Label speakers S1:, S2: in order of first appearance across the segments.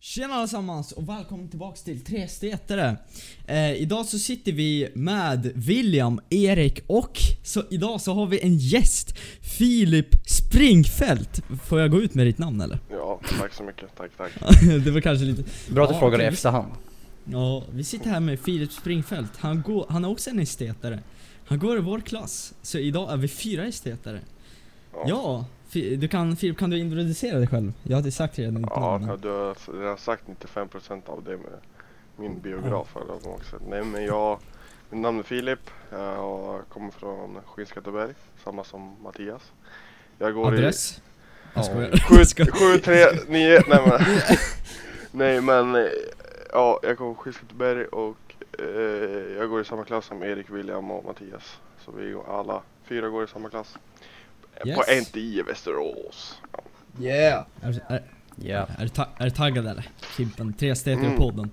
S1: Tjena allesammans och välkommen tillbaks till Trestetare. Eh, idag så sitter vi med William, Erik och så idag så har vi en gäst. Filip Springfält. Får jag gå ut med ditt namn eller?
S2: Ja, tack så mycket. Tack, tack.
S1: det var kanske lite...
S3: Bra att du
S1: Ja,
S3: frågar i
S1: okej.
S3: efterhand.
S1: Ja, vi sitter här med Filip Springfält. Han, går, han är också en estetare. Han går i vår klass. Så idag är vi fyra estetare.
S2: Ja.
S1: Ja, Fi- du kan, Filip kan du introducera dig själv? Jag hade sagt redan ditt
S2: Ja,
S1: namn. men-
S2: du har redan sagt 95% av det med min biograf här av något sätt. Nej, men jag, mitt namn är Filip eh, och jag kommer från Skinnskatteberg, samma som Mattias. Jag går
S1: Adress? Jag skojar.
S2: i
S1: Jag skojar.
S2: 739, nej men. nej men, eh, ja, jag kommer från Skinnskatteberg och eh, jag går i samma klass som Erik, William och Mattias. Så vi går alla fyra går i samma klass. På
S1: Yes.
S2: NTI i Västerås. Ja.
S3: Yeah!
S1: Är, är,
S3: Yeah.
S1: är, du ta- är du taggad eller? Kimpen, tre steg
S4: Mm.
S1: till podden.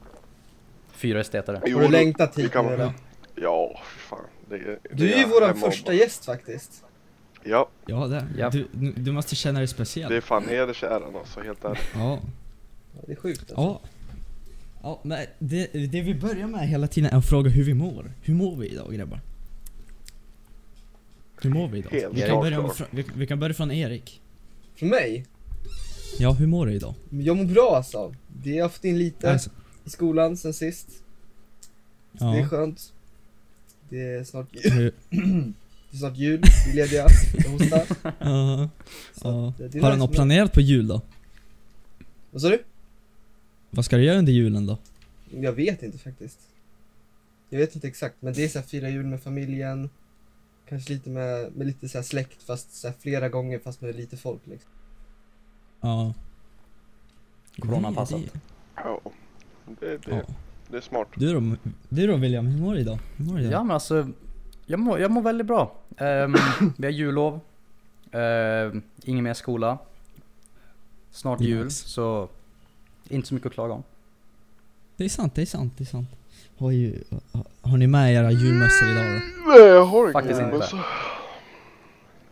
S3: Fyra estetare.
S4: Har du längtat
S2: vi
S4: hit
S2: kan-
S4: nu eller?
S2: Ja, fy fan. Det, det
S4: Du är ju våran
S2: hemma och-
S4: första gäst faktiskt.
S2: Ja,
S1: Ja, det.
S3: Japp.
S1: Du, nu- du måste känna dig
S2: det är
S1: speciell.
S2: fan hedersäran alltså, helt ärligt.
S1: Ja.
S4: Ja, Det är sjukt alltså.
S1: Ja. Ja, men det, det vi börjar med hela tiden är att fråga hur vi mår. Hur mår vi idag grabbar? Hur mår vi idag?
S2: Helt
S1: Vi kan,
S2: klart,
S1: börja med,
S2: klart.
S1: fr- vi, vi kan börja från Erik.
S4: För mig?
S1: Ja, hur mår du idag?
S4: Jag mår bra alltså. Det jag har haft in lite
S1: Alltså,
S4: i skolan sen sist. Så
S1: Ja.
S4: Det är skönt. Det är snart, det
S1: hur,
S4: är snart jul, vi är lediga. Jag hostar.
S1: ja,
S4: Så
S1: ja.
S4: att, eh, det är
S1: Har du
S4: nice
S1: något
S4: med-
S1: planerat på jul då?
S4: Vad sa du?
S1: Vad ska du göra under julen då?
S4: Jag vet inte faktiskt. Jag vet inte exakt, men det är så här fira jul med familjen. Kanske lite med, med lite så här släkt fast så här flera gånger fast med lite folk liksom.
S1: Ja.
S3: Coronaanpassat.
S2: Ja, det, det,
S1: Ja.
S2: det är smart.
S1: Du då, du då William, hur mår du idag? Hur mår du idag?
S3: Ja men alltså, jag mår, jag mår väldigt bra. Ehm, vi har jullov. Ehm, ingen mer skola. Snart jul,
S1: Nice.
S3: så inte så mycket att klaga om.
S1: Det är sant, det är sant, det är sant. Har, ju, har, har ni med era julmössor idag då?
S2: Nej, jag har
S3: Faktiskt
S2: ingen
S3: inte.
S2: buss.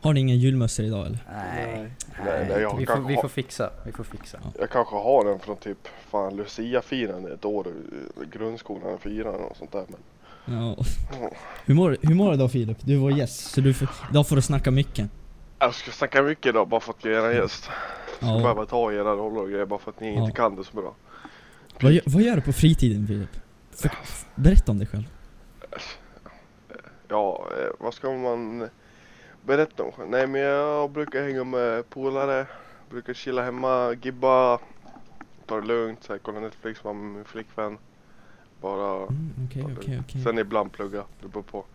S1: Har ni inga julmössor idag eller?
S3: Nej.
S2: Nej, nej, jag
S3: vi, får,
S2: kanske
S3: vi
S2: har-
S3: får fixa. Vi får fixa.
S2: Jag kanske har den från typ, fan Lucia-firande ett år, i grundskolan firade och sånt där. Men
S1: Ja. Hur mår, hur mår du idag Filip? Du är vår gäst, så du får, idag får du snacka mycket.
S2: jag ska snacka mycket idag bara för att jag är en gäst. Jag ska
S1: Ja.
S2: behöva ta era roller och grejer bara för att ni
S1: Ja.
S2: inte kan det så bra.
S1: Vad, gör- vad gör du på fritiden Filip? För, berätta om dig själv.
S2: Ja, eh, vad ska man berätta om själv? Nej men jag brukar hänga med polare, brukar chilla hemma, gibba, ta det lugnt, så här, kolla Netflix vara med min flickvän. Bara,
S1: Mm, Okej,
S2: ta det
S1: okej,
S2: lugnt.
S1: okej.
S2: sen ibland plugga, det beror på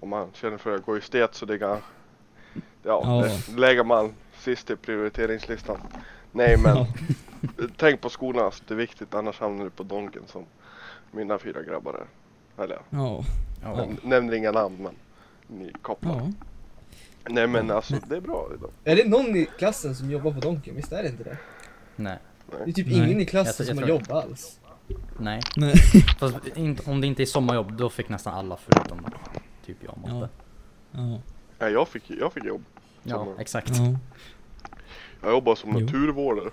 S2: om man känner för det. Går estet så det kan, ja,
S1: Ja.
S2: det lägger man sist i prioriteringslistan. Nej men,
S1: Ja.
S2: tänk på skolan, alltså, det är viktigt annars hamnar du på donken som mina fyra grabbar är. Eller
S1: Ja.
S3: Ja.
S2: jag nämner inga namn men ni kopplar.
S1: ja.
S2: Nej men alltså det är bra idag.
S4: Är det någon i klassen som jobbar på Donken? Visst är det inte det?
S3: Nej.
S4: Det är typ
S1: Nej.
S4: ingen i
S3: Jag
S4: klassen
S3: tror-
S4: som har
S3: jag tror-
S4: jobb alls.
S3: Nej.
S1: Nej.
S3: Fast inte, om det inte är sommarjobb, då fick nästan alla förutom typ jag och
S1: Ja.
S3: Motte.
S1: Ja.
S2: Ja, jag, fick, jag fick jobb.
S3: Ja,
S2: Sommarjobb.
S3: exakt.
S1: ja.
S2: Jag jobbar som
S1: Jo.
S2: naturvårdare.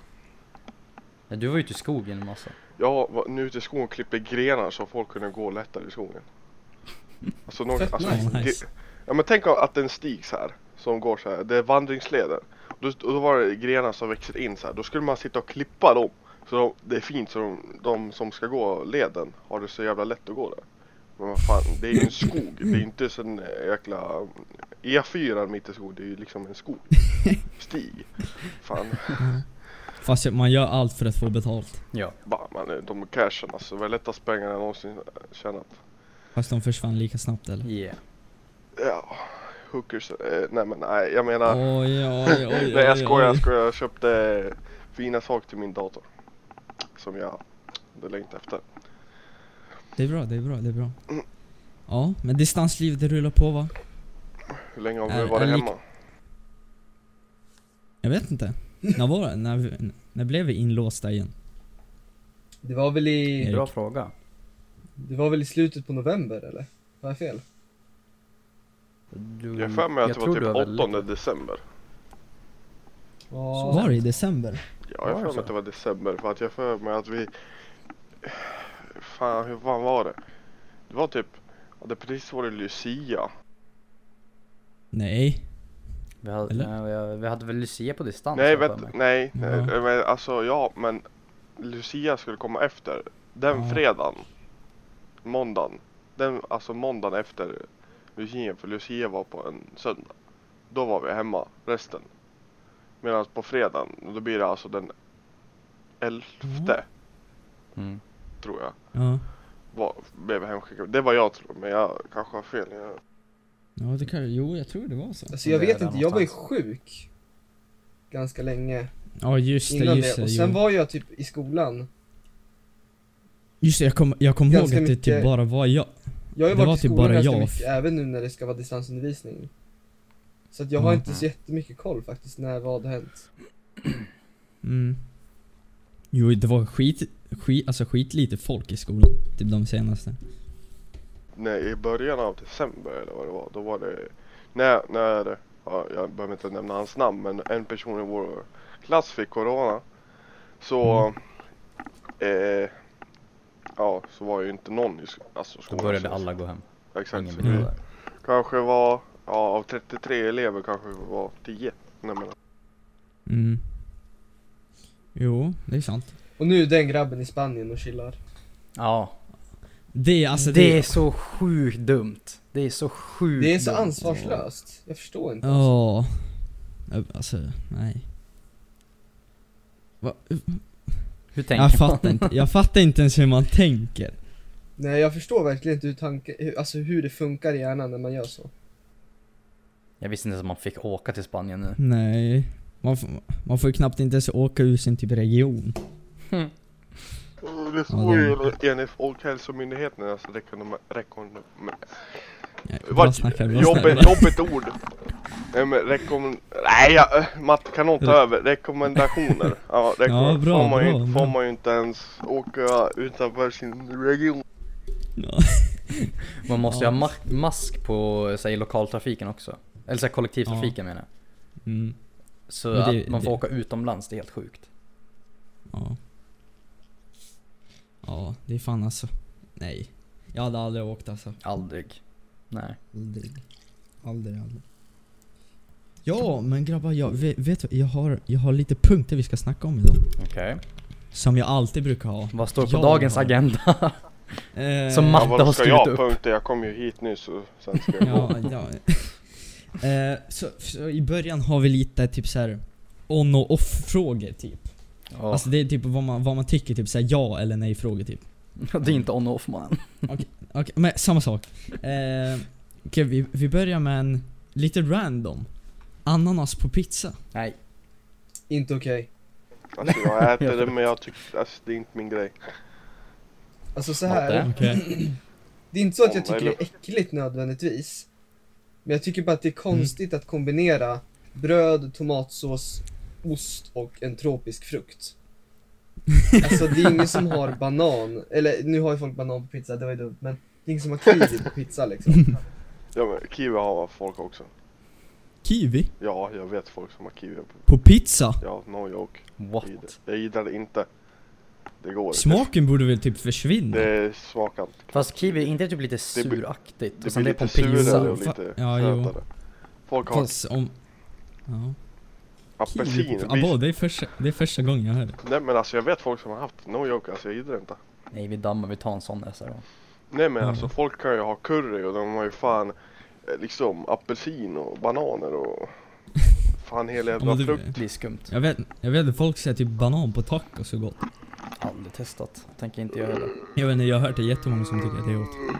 S3: Ja, Du var ute i skogen en massa.
S2: Jag var nu ute i skogen och klippte grenar så folk kunde gå lättare i skogen. Alltså, någon,
S4: Fett
S2: alltså
S1: nice.
S2: gre- ja, men tänk att den stigs här som går så här. Det är vandringsleder. Och då, och då var det grenar som växer in så här. Då skulle man sitta och klippa dem. Så de, det är fint så de, de som ska gå leden har det så jävla lätt att gå där. Men vad fan, det är ju en skog. Det är ju inte sån eh, jäkla E4 mitt i skogen. Det är ju liksom en skog. Stig. Fan.
S1: Fast man gör allt för att få betalt.
S3: Ja.
S2: Bara, man, eh, de cashen alltså, det var lättaste pengarna jag någonsin tjänat.
S1: Fast de försvann lika snabbt eller?
S3: Yeah.
S2: Ja, hookers, eh, nej men nej, jag menar.
S1: Oj, oj, oj, oj,
S2: nej jag skojar, jag
S1: oj.
S2: skojar. Jag köpte fina saker till min dator. Som jag hade längtat efter.
S1: Det är bra, det är bra, det är bra.
S2: Mm.
S1: Ja, men distanslivet det rullar på va?
S2: Hur länge har
S1: Är-
S2: vi varit
S1: är lik-
S2: hemma?
S1: Jag vet inte. När var det? När, vi- när blev vi inlåsta igen?
S4: Det var väl i...
S1: Erik.
S3: Bra fråga.
S4: Det var väl i slutet på november eller? Har jag fel?
S3: Du,
S2: Jag har för mig att det
S3: tror
S2: var
S3: du
S2: typ
S3: har väldigt-
S2: 8 december.
S5: Ja.
S1: Var det i december?
S2: Ja, jag
S3: Var
S2: har
S3: det
S2: för mig
S3: så?
S2: att det var december för att jag har för mig att vi... Fan, hur fan var det? Det var typ... ja, Det precis var det Lucia.
S1: Nej.
S3: Vi hade,
S1: Eller?
S3: nej, vi hade- vi hade väl Lucia på distans? har
S2: nej,
S3: jag för
S2: vet,
S3: mig.
S2: nej,
S1: Ja.
S2: nej, men alltså ja, men Lucia skulle komma efter. Den
S1: Ja.
S2: fredagen. Måndagen. Den, alltså måndagen efter Lucia, för Lucia var på en söndag. Då var vi hemma, resten. Medan på fredagen, då blir det alltså den elfte,
S3: Mm.
S2: tror jag.
S1: Ja.
S2: var, blev hemskickad. Det var jag tror, men jag kanske har fel. Jag,
S1: Ja, det kan, jo, jag tror det var så.
S5: Alltså jag
S3: Det är
S5: vet
S3: där
S5: inte, jag var ju
S3: någonstans.
S5: sjuk. Ganska länge
S1: Ja, just det,
S5: innan
S1: just
S5: det.
S1: det.
S5: Och sen
S1: jo.
S5: var jag typ i skolan.
S1: Just det, jag kom, jag kom ihåg att
S5: Ganska
S1: det typ
S5: mycket-
S1: bara var jag.
S5: Jag har ju
S1: Det var
S5: varit i
S1: typ
S5: skolan
S1: bara
S5: ganska
S1: jag.
S5: mycket, även nu när det ska vara distansundervisning. Så att jag har
S1: Mm.
S5: inte så jättemycket koll faktiskt när vad har hänt.
S1: Mm. Jo, det var skit, skit, alltså skit lite folk i skolan. Typ de senaste.
S2: nej, i början av december eller vad det var, då var det när, när ja, jag behöver inte nämna hans namn, men en person i vår klass fick corona. Så, eh, ja, så var ju inte någon i sk- alltså,
S3: Mm. Då
S2: skolan.
S3: började
S2: så-
S3: alla gå hem.
S2: Exakt.
S3: Ingen
S2: så
S3: ville
S2: vi
S1: Mm.
S3: vara där.
S2: Kanske var, ja, av 33 elever kanske vi var 10. Nej, men,
S1: Mm. Jo, det är sant.
S5: Och nu är den grabben i Spanien och chillar.
S3: Ja,
S1: Det är alltså
S3: det är
S1: det...
S3: så sjukt dumt. Det är så sjukt
S5: Det är så
S3: dumt.
S5: ansvarslöst. Jag förstår inte. alltså.
S1: Ja. Alltså, nej. Va?
S3: Hur tänker
S1: Jag
S3: man?
S1: fattar inte, jag fattar inte ens hur man tänker.
S5: Nej jag förstår verkligen inte hur, tanke, hur, alltså hur det funkar i hjärnan när man gör så.
S3: Jag visste inte ens att man fick åka till Spanien nu.
S1: Nej. Man, f- man får ju knappt inte ens åka ur sin typ region.
S2: Oh, det står ju enligt alltså, Folkhälsomyndighetens rekommendation. Rekommend-
S1: Nej, Bra
S2: Vad-
S1: snackar, bra
S2: Jobbigt,
S1: snackar.
S2: jobbigt ord. Nej men rekommend... Nej, jag, äh, Matt kan nog ta över. Rekommendationer. Ja, rekommend...
S1: Ja, bra,
S2: får, man ju,
S1: bra,
S2: inte-
S1: bra.
S2: får man ju inte ens åka utanför sin region.
S1: Ja.
S3: Man måste
S1: Ja.
S3: ju ha ma- mask på sig lokaltrafiken också. Eller så här, kollektivtrafiken menar jag.
S1: Mm.
S3: Så
S1: Men det-
S3: att man får
S1: det-
S3: åka utomlands, det är helt sjukt.
S1: Ja. Ja, det är fan alltså. Nej. Jag hade aldrig åkt alltså.
S3: Aldrig. Nej.
S1: Aldrig. Aldrig, aldrig. Ja, men grabbar, jag, vet, vet du, jag, har, jag har lite punkter vi ska snacka om idag.
S3: Okej.
S1: Som jag alltid brukar ha.
S3: Vad står på
S1: Jag
S3: dagens
S1: har-
S3: agenda?
S1: Eh,
S3: Som
S2: Ja,
S3: Matte har
S2: vad ska
S3: skrivit
S2: jag
S3: upp.
S2: punkter? Jag kom ju hit nu så sen ska jag gå.
S1: Ja, ja. Eh, så, så i början har vi lite typ så här on och off frågor typ.
S3: Åh,
S1: Alltså det är typ vad man, vad man tycker, typ så här ja eller nej frågor typ.
S3: Det är inte on-off man.
S1: Okej, men samma sak. Eh, okej, vi, vi börjar med en lite random. Ananas på pizza.
S3: Nej.
S5: Inte okej.
S2: Alltså jag äter det men jag tycker, alltså det är inte min grej.
S5: Alltså så här.
S3: Matte?
S1: Okej.
S5: Det är inte så att jag
S2: Om,
S5: tycker det är äckligt nödvändigtvis. Men jag tycker bara att det är
S1: Mm.
S5: konstigt att kombinera bröd, tomatsås, ost och en tropisk frukt. Alltså det är ingen som har banan, eller nu har ju folk banan på pizza, det var ju dumt men det är ingen som har kiwi på pizza liksom.
S2: Ja men kiwi har folk också.
S1: Kiwi?
S2: Ja, jag vet folk som har kiwi. på-
S1: På pizza?
S2: Ja, no joke.
S3: What?
S2: Jag gillar det inte. Det går inte.
S1: Smaken borde väl typ försvinna?
S2: Det smakar inte.
S3: Fast kiwi, är inte det typ lite
S2: Det blir-
S3: suraktigt? Och
S2: Det
S1: Liksom,
S3: sen
S2: blir
S3: det är på
S2: lite
S3: en pizza.
S2: surare
S1: Jo,
S2: och
S1: fa-
S2: lite
S1: ja, jo.
S2: sötare. Folk har
S1: Fast om... Ja. Kiwi
S2: apelsin.
S1: på,
S2: visst.
S1: abo, det, är första, det är första gången jag hör det.
S2: Nej men alltså jag vet folk som har haft no joke, alltså jag gillar det inte.
S3: Nej vi dammar, vi tar en sån nästa gång.
S2: Nej men
S1: Mm.
S2: alltså folk kan ju ha curry och de har ju fan eh, liksom apelsin och bananer och fan hela
S1: Ja,
S2: jävla
S1: men det-
S2: frukt.
S3: Det är skumt.
S1: Jag vet, jag vet att folk säger typ banan på tacos så gott.
S3: Aldrig testat. Tänker inte jag heller.
S1: Jag vet inte, jag har hört det jättemånga som tycker att det är gott.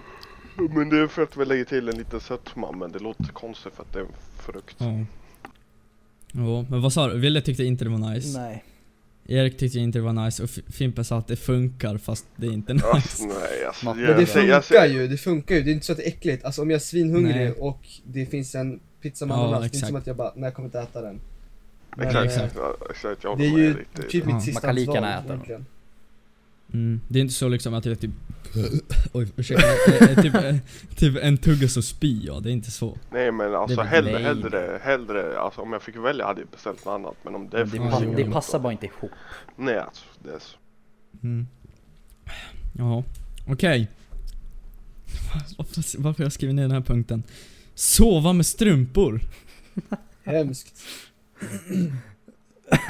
S2: Mm, Men det är för att vi lägger till en liten sötma men det låter konstigt för att det är en frukt.
S1: Ja. Jo, men vad sa du? Ville tyckte inte det var nice.
S3: Nej.
S1: Erik tyckte inte det var nice och F- Fimpen sa att det funkar fast det är inte nice.
S2: Alltså, nej alltså.
S3: Men
S5: Men det
S2: jag säger- jag
S5: funkar
S2: säger-
S5: ju, det funkar ju, det är inte så att det är äckligt. Alltså om jag är svinhungrig
S1: Nej.
S5: och det finns en pizza med
S1: Ja,
S5: ananas, det är inte
S1: exakt.
S5: som att jag bara, nej jag kommer inte äta den. Men,
S2: Exakt,
S5: eh,
S2: exakt, ja, exakt. Jag
S5: Det
S2: håller
S5: är
S2: med
S5: ju
S2: lite.
S5: typ
S1: Ja.
S5: mitt sista
S3: Man kan lika
S5: ansvar,
S3: gärna äta den.
S5: verkligen.
S1: Mm. Det är inte så liksom att jag typ Oj, ursäkta. Eh, eh, typ, eh, typ en tugga så spy ja, det är inte så.
S2: Nej men alltså
S1: väl
S2: hellre,
S1: nej.
S2: hellre, hellre, alltså om jag fick välja hade jag beställt något annat men om det,
S3: Men
S2: finns
S3: Det,
S1: fan
S3: pa-
S1: ingen
S2: inget
S3: det
S2: annat
S3: passar
S2: då.
S3: bara inte ihop.
S2: Nej alltså, det är så.
S1: Mm. Jaha, okej. Varför, varför har jag skrivit ner den här punkten? Sova med strumpor.
S5: Hemskt.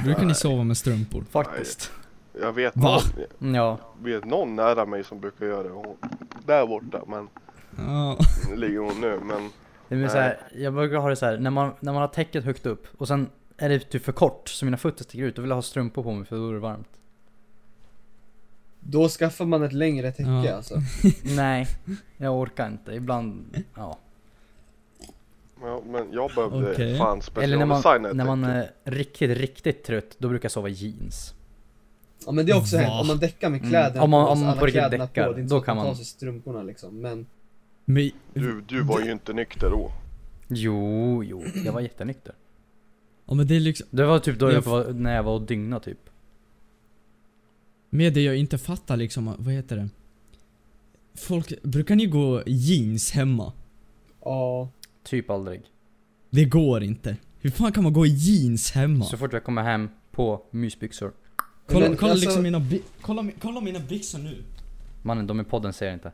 S1: Brukar ni sova med strumpor?
S3: Faktiskt.
S2: Jag vet
S1: Va?
S2: någon, jag
S3: Mm, Ja.
S2: vet någon nära mig som brukar göra det, hon, där borta men,
S1: Ja.
S2: nu ligger hon nu men
S3: Det blir så här, jag brukar ha det så här, när man, när man har täcket högt upp och sen är det typ för kort så mina fötter sticker ut. Då vill jag ha strumpor på mig för då är det varmt.
S5: Då skaffar man ett längre täcke
S1: Ja.
S5: alltså.
S3: Nej, jag orkar inte. Ibland, ja.
S2: Ja, men jag behövde
S1: Okej.
S2: fan
S3: Eller när man,
S2: specialdesigna ett
S3: när man
S2: täcke.
S3: är riktigt, riktigt trött, då brukar jag sova i jeans.
S5: Ja men det är också
S1: Va?
S5: hänt, om man däckar med
S3: Mm.
S5: kläderna
S3: Om man-
S5: på,
S3: om
S5: så
S3: man
S5: alla
S3: på riktigt
S5: kläderna
S3: däckar,
S5: på, det är inte
S3: då
S5: så att
S3: kan
S5: man
S3: man-
S5: tar sig strumporna liksom. Men
S1: Men,
S2: Du, du var ju inte nykter då.
S3: Jo, jo, jag var jättenykter.
S1: ja, men det är liksom,
S3: Det var typ då
S1: Jag
S3: jag
S1: f-
S3: var, när jag var och dygna typ.
S1: med det jag inte fattar liksom, vad heter det? Folk, brukar ni gå i jeans hemma?
S5: ja,
S3: Typ aldrig.
S1: Det går inte. Hur fan kan man gå i jeans hemma?
S3: Så fort jag kommer hem på mysbyxor.
S1: Kolla,
S5: Men
S1: kolla
S5: alltså-
S1: liksom mina bi- kolla, mi- kolla mina byxor nu.
S3: Mannen, de i podden ser inte.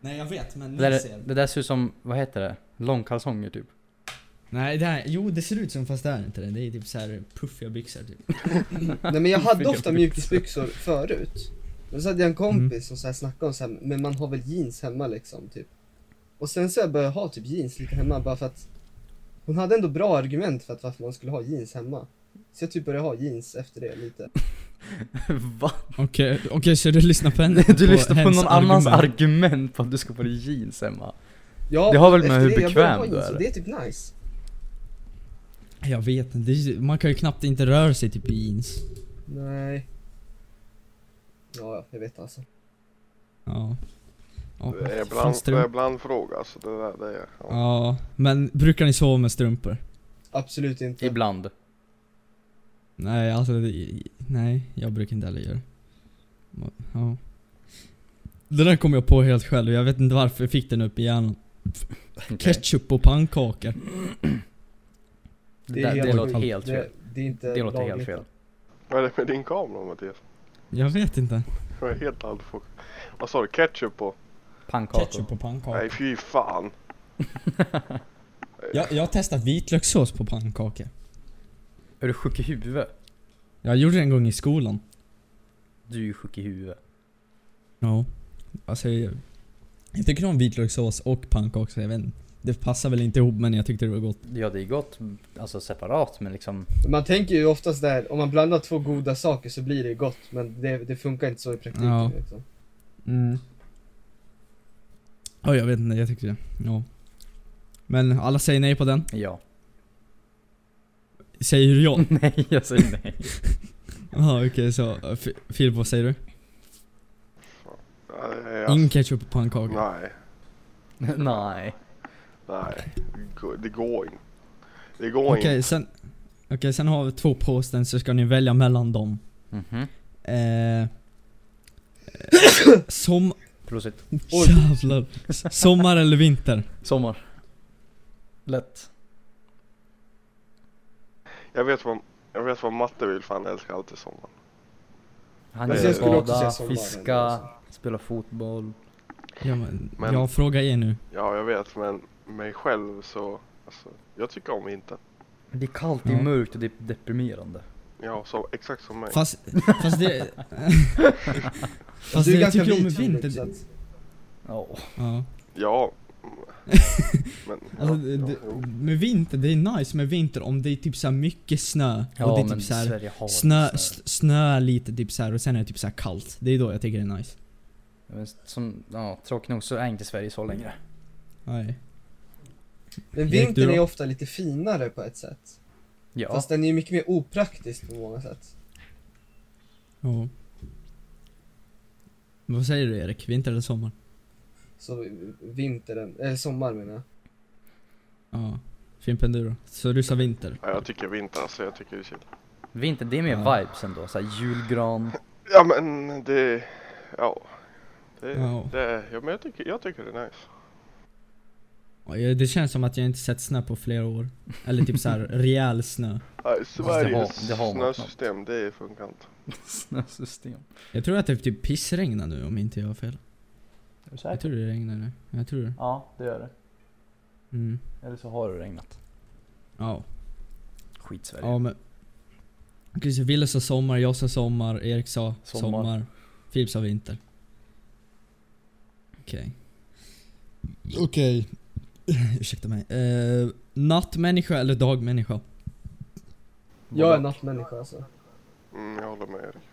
S1: Nej jag vet men ni
S3: Det där,
S1: ser.
S3: det där ser ut som, vad heter det? Långkalsonger typ.
S1: Nej det här, jo det ser ut som fast det är inte det. Det är typ så här puffiga byxor typ.
S5: nej men jag hade
S1: Fick
S5: ofta
S1: jag
S5: mjukisbyxor förut. Men så hade jag en
S3: Mm.
S5: kompis som så här snackade om så här, men man har väl jeans hemma liksom typ. Och sen så jag började ha typ jeans lite hemma bara för att hon hade ändå bra argument för att varför man skulle ha jeans hemma. Så jag typ började ha jeans efter det lite.
S3: Va?
S1: Okej, okej så du lyssnar på henne?
S3: Du lyssnar på någon annans argument på att du ska på dig jeans hemma.
S5: Ja,
S3: Det har väl med
S5: efter
S3: hur
S5: det jag började ha
S3: bekväm du
S5: jeans,
S3: är.
S5: och Det är typ nice.
S1: Jag vet inte, det är- man kan ju knappt inte röra sig typ i jeans.
S5: Nej. Ja, jag vet alltså.
S1: Ja. Ja,
S2: Det är
S1: fan,
S2: bland, det
S1: strump-
S2: är bland fråga alltså. Det där, det är, ja.
S1: ja, men brukar ni sova med strumpor?
S5: Absolut inte.
S3: Ibland.
S1: Nej, alltså det, nej, jag brukar inte heller göra det. Ja. Det där kom jag på helt själv, jag vet inte varför jag fick den upp i hjärnan.
S3: Okej.
S1: Ketchup och pannkakor.
S3: Det, där- det
S1: helt
S3: låter
S1: sjukt.
S3: helt fel.
S5: Det, det är inte
S3: Det låter helt
S5: lagligt.
S3: fel.
S2: Vad är det med din kamera Mattias?
S1: Jag vet inte.
S2: Jag är helt out of focus. Vad sa du? Ketchup på?
S3: Pannkakor.
S1: Ketchup och pannkakor.
S2: Nej fy fan.
S1: Jag, jag har testat vitlökssås på pannkakor.
S3: Är du sjuk i huvudet?
S1: Jag gjorde det en gång i skolan.
S3: Du är ju sjuk i huvudet.
S1: Ja. Alltså jag, jag tycker om vitlökssås och pannkakor så jag vet inte. Det passar väl inte ihop men jag tyckte det var gott.
S3: Ja det är gott, alltså separat men liksom
S5: Man tänker ju oftast där, om man blandar två goda saker så blir det gott, men det, det funkar inte så i praktiken.
S1: Ja.
S5: Liksom.
S1: Mm. Ja, jag vet inte, jag tyckte det. Ja. Men alla säger nej på den.
S3: ja.
S1: Säger jag.
S3: nej jag säger nej.
S1: Jaha okej så, eh, Fi- Filip vad säger du?
S2: Nej, alltså,
S1: Ingen ketchup och pannkakor?
S2: nej,
S3: nej.
S2: nej. Det går- Det går inte. Det går
S1: Okej
S2: inte.
S1: sen, okej sen har vi två påståenden så ska ni välja mellan dem.
S3: Mhm.
S1: Eh, eh, som,
S3: Prosit.
S5: Oj.
S1: jävlar. Sommar eller vinter?
S3: Sommar. Lätt.
S2: Jag vet vad, jag vet vad matte vill för han älskar alltid sommaren.
S3: Han
S2: Nej, jag
S3: gillar att
S2: skulle
S5: också säga
S3: bada,
S5: sommar ändå,
S3: fiska,
S5: alltså.
S3: spela fotboll.
S1: Ja, men,
S2: Men-
S1: Jag frågar er nu.
S2: Ja jag vet men mig själv så, alltså, jag tycker om vintern.
S3: Men det är kallt, det är
S1: Ja.
S3: mörkt och det är deprimerande.
S2: Ja, så, exakt som mig.
S1: Fast, fast det... fast det
S5: Du är
S1: jag
S5: ganska
S1: tycker om
S5: vit liksom.
S1: med vinter...
S5: Filip, så att
S3: Ja.
S1: Ja.
S2: Ja. mm. Men,
S1: Alltså, det,
S2: ja, ja,
S1: det-
S2: jo.
S1: med vinter, det är nice med vinter om det är typ såhär mycket snö.
S3: Ja
S1: och det är
S3: men
S1: typ såhär
S3: Sverige har
S1: snö,
S3: inte
S1: s- snö lite typ såhär och sen är det typ såhär kallt. Det är då jag tycker det är nice.
S3: Men Som, ja, tråkigt nog så är inte Sverige så längre.
S1: Nej.
S5: Men
S1: Erik, du
S5: vintern
S1: då?
S5: är ju ofta lite finare på ett sätt.
S3: Ja.
S5: Fast den är ju mycket mer opraktisk på många sätt.
S1: Ja. Men Vad säger du Erik? Vinter eller sommar?
S5: Så vintern, eller sommar menar jag.
S1: Ja. Fimpen du då? Så du sa vinter?
S2: Ja, jag tycker vinter alltså, jag tycker det är chill.
S3: Vinter, det är mer
S1: Ja.
S3: vibes ändå. Såhär julgran.
S2: Ja men det, ja. Det,
S1: Ja.
S2: det, ja, men jag, tycker, jag tycker det är nice.
S1: Och jag- Det känns som att jag inte sett snö på flera år. Eller typ så här rejäl snö.
S2: Nej, Sveriges
S3: det har man något.
S2: snösystem, det funkar inte.
S3: Snösystem.
S1: Jag tror att det typ pissregnar nu om inte jag har fel.
S3: Är du
S1: Jag
S3: säker?
S1: tror det regnar nu. Jag tror det.
S3: Ja, det gör det.
S1: Mm.
S3: Eller så har det regnat.
S1: Ja.
S3: Skitsverige.
S1: Ja men... Okej, så Wille sa sommar, jag sa sommar, Erik sa sommar.
S3: Sommar.
S1: Filip sa vinter. Okej. Okej. Ursäkta mig. Eh, nattmänniska eller dagmänniska?
S5: Jag är nattmänniska alltså.
S2: Mm, jag håller med Erik.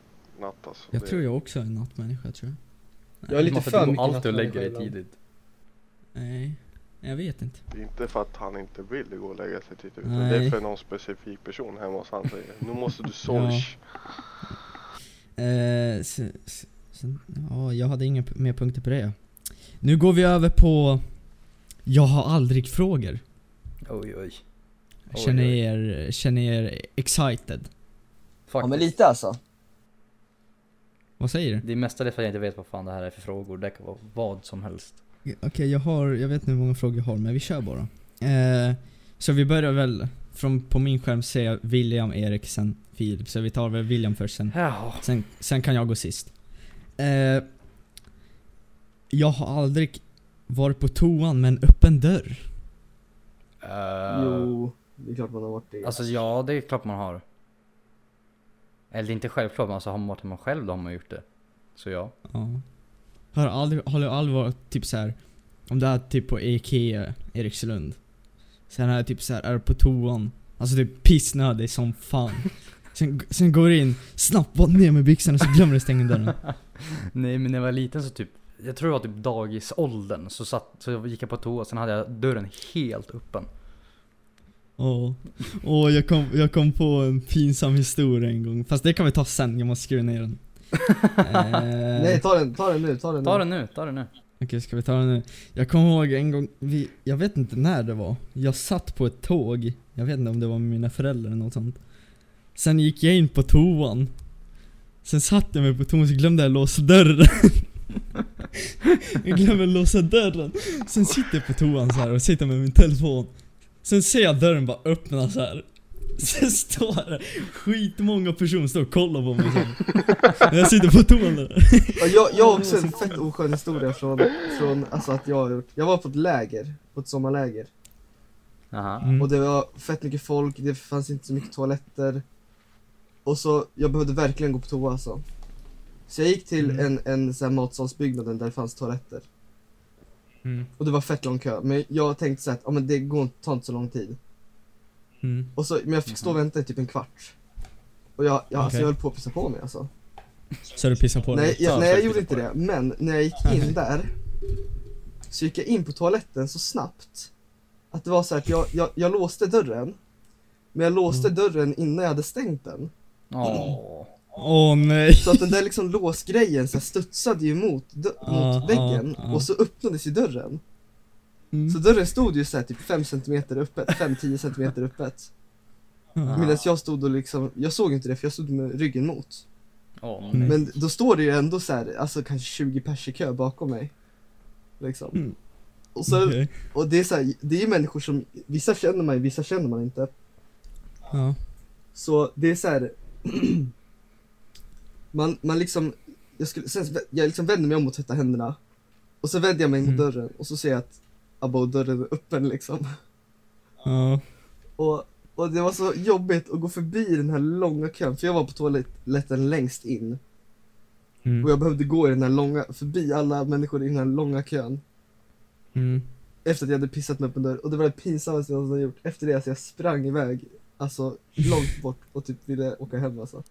S2: Natt alltså.
S1: Jag
S2: det,
S1: tror jag också är en nattmänniska tror jag.
S5: Jag är lite
S3: Varför
S5: för
S3: du
S5: mycket
S3: alltid och lägger
S5: nattmänniska
S3: dig
S5: ibland.
S3: tidigt.
S1: Nej. Jag vet inte.
S2: det är inte för att han inte vill gå och lägga sig tidigt. utan
S1: Nej.
S2: Det är för någon specifik person hemma hos han säger Nu måste du sorg.
S1: Eh, sen, sen, ja, jag hade inga p- mer punkter på det. Nu går vi över på Jag har aldrig frågor.
S3: Oj oj. Oj,
S1: Känner
S3: oj.
S1: er, känner er excited.
S6: Ja men
S3: Faktiskt.
S6: lite alltså.
S1: Vad säger du?
S3: Det är mestadels för att jag inte vet vad fan det här är för frågor. Det kan vara vad som helst.
S1: Okej, jag har, jag vet inte hur många frågor jag har men vi kör bara. Eh, så vi börjar väl, från, på min skärm ser jag William, Erik, sen Filip. Så vi tar väl William först sen.
S3: Ja.
S1: Sen, sen kan jag gå sist. Eh, jag har aldrig varit på toan med en öppen dörr.
S3: Eh,
S5: Jo, det är klart man har varit det.
S3: Alltså ja, det är klart man har. Eller det är inte självklart, men alltså har man varit hemma själv då har man gjort det. Så ja.
S1: Ja. Har aldrig, har aldrig varit typ så här. Om det är typ på Ikea, Erikslund. Sen är jag typ så här, är på toan. Alltså typ pissnödig som fan. Sen, sen går jag in, snabbt bara ner med byxorna så glömmer jag stänga dörren.
S3: Nej men när jag var liten så typ, jag tror det var typ dagisåldern, så, satt, så jag gick jag på toa sen hade jag dörren helt öppen.
S1: Åh, Åh, jag, kom, jag kom på en pinsam historia en gång. Fast det kan vi ta sen, jag måste skruva ner den. Eh,
S5: Nej, ta den, ta den nu, ta den
S3: Ta
S5: nu.
S3: den nu, ta den nu.
S1: Okej, ska vi ta den nu? Jag kommer ihåg en gång, vi, jag vet inte när det var. Jag satt på ett tåg, jag vet inte om det var med mina föräldrar eller något sånt. Sen gick jag in på toan. Sen satt jag mig på toan så glömde jag låsa dörren. jag glömde låsa dörren. Sen sitter jag på toan så här och sitter med min telefon. Sen ser jag dörren bara öppna så här. Sen står det skitmånga personer står och kollar på mig så här. När jag sitter på toan där.
S5: Ja, Jag, jag har också
S1: Mm.
S5: en fett oskön historia från, från alltså att jag har gjort. Jag var på ett läger, på ett sommarläger.
S3: Aha.
S1: Mm.
S5: Och det var fett mycket folk, det fanns inte så mycket toaletter. Och så, jag behövde verkligen gå på toa alltså. Så jag gick till
S1: Mm.
S5: en, en sån här matsalsbyggnaden där det fanns toaletter.
S1: Mm.
S5: Och det var fett lång kö, men jag tänkte såhär att ah, men det går, inte- tar inte så lång tid.
S1: Mm.
S5: Och så, men jag fick stå och vänta i typ en kvart. Och jag, jag, alltså,
S1: Okej.
S5: jag höll på att pissa på mig alltså.
S1: Så du pissar på dig?
S5: Nej, jag,
S3: Ja,
S5: nej, jag
S3: säkert.
S5: gjorde inte det. Men när jag gick in där så gick jag in på toaletten så snabbt att det var så här att jag, jag, jag låste dörren. Men jag låste
S1: Mm.
S5: dörren innan jag hade stängt den.
S3: Åh.
S1: Åh nej.
S5: Så att den där liksom låsgrejen så här studsade ju emot, dö-
S1: Ja,
S5: mot väggen
S1: ja, ja.
S5: och så öppnades ju dörren.
S1: Mm.
S5: Så dörren stod ju så här typ 5 cm öppet, 5-10 cm öppet.
S1: Ja.
S5: Medan jag stod och liksom, jag såg inte det för jag stod med ryggen mot.
S3: Åh
S1: Mm.
S3: nej.
S5: Men då står det ju ändå så här, alltså kanske 20 pers i kö bakom mig. Liksom.
S1: Mm.
S5: Och, så,
S1: Okej.
S5: och det är så här, det är ju människor som, vissa känner man ju, vissa känner man inte.
S1: Ja.
S5: Så det är så här. man, man liksom, jag, skulle, sen, jag liksom vänder mig om och tvättar händerna. Och så vänder jag mig mot
S1: Mm.
S5: dörren och så ser jag att abba dörren är öppen liksom.
S1: Ja.
S5: Och, och det var så jobbigt att gå förbi den här långa kön, för jag var på toaletten längst in. Och
S1: Mm.
S5: jag behövde gå i den här långa, förbi alla människor i den här långa kön.
S1: Mm.
S5: Efter att jag hade pissat med öppen dörr. Och det var det pinsammaste jag någonsin har gjort. Efter det, alltså, jag sprang iväg. Alltså, långt bort och typ ville åka hem alltså.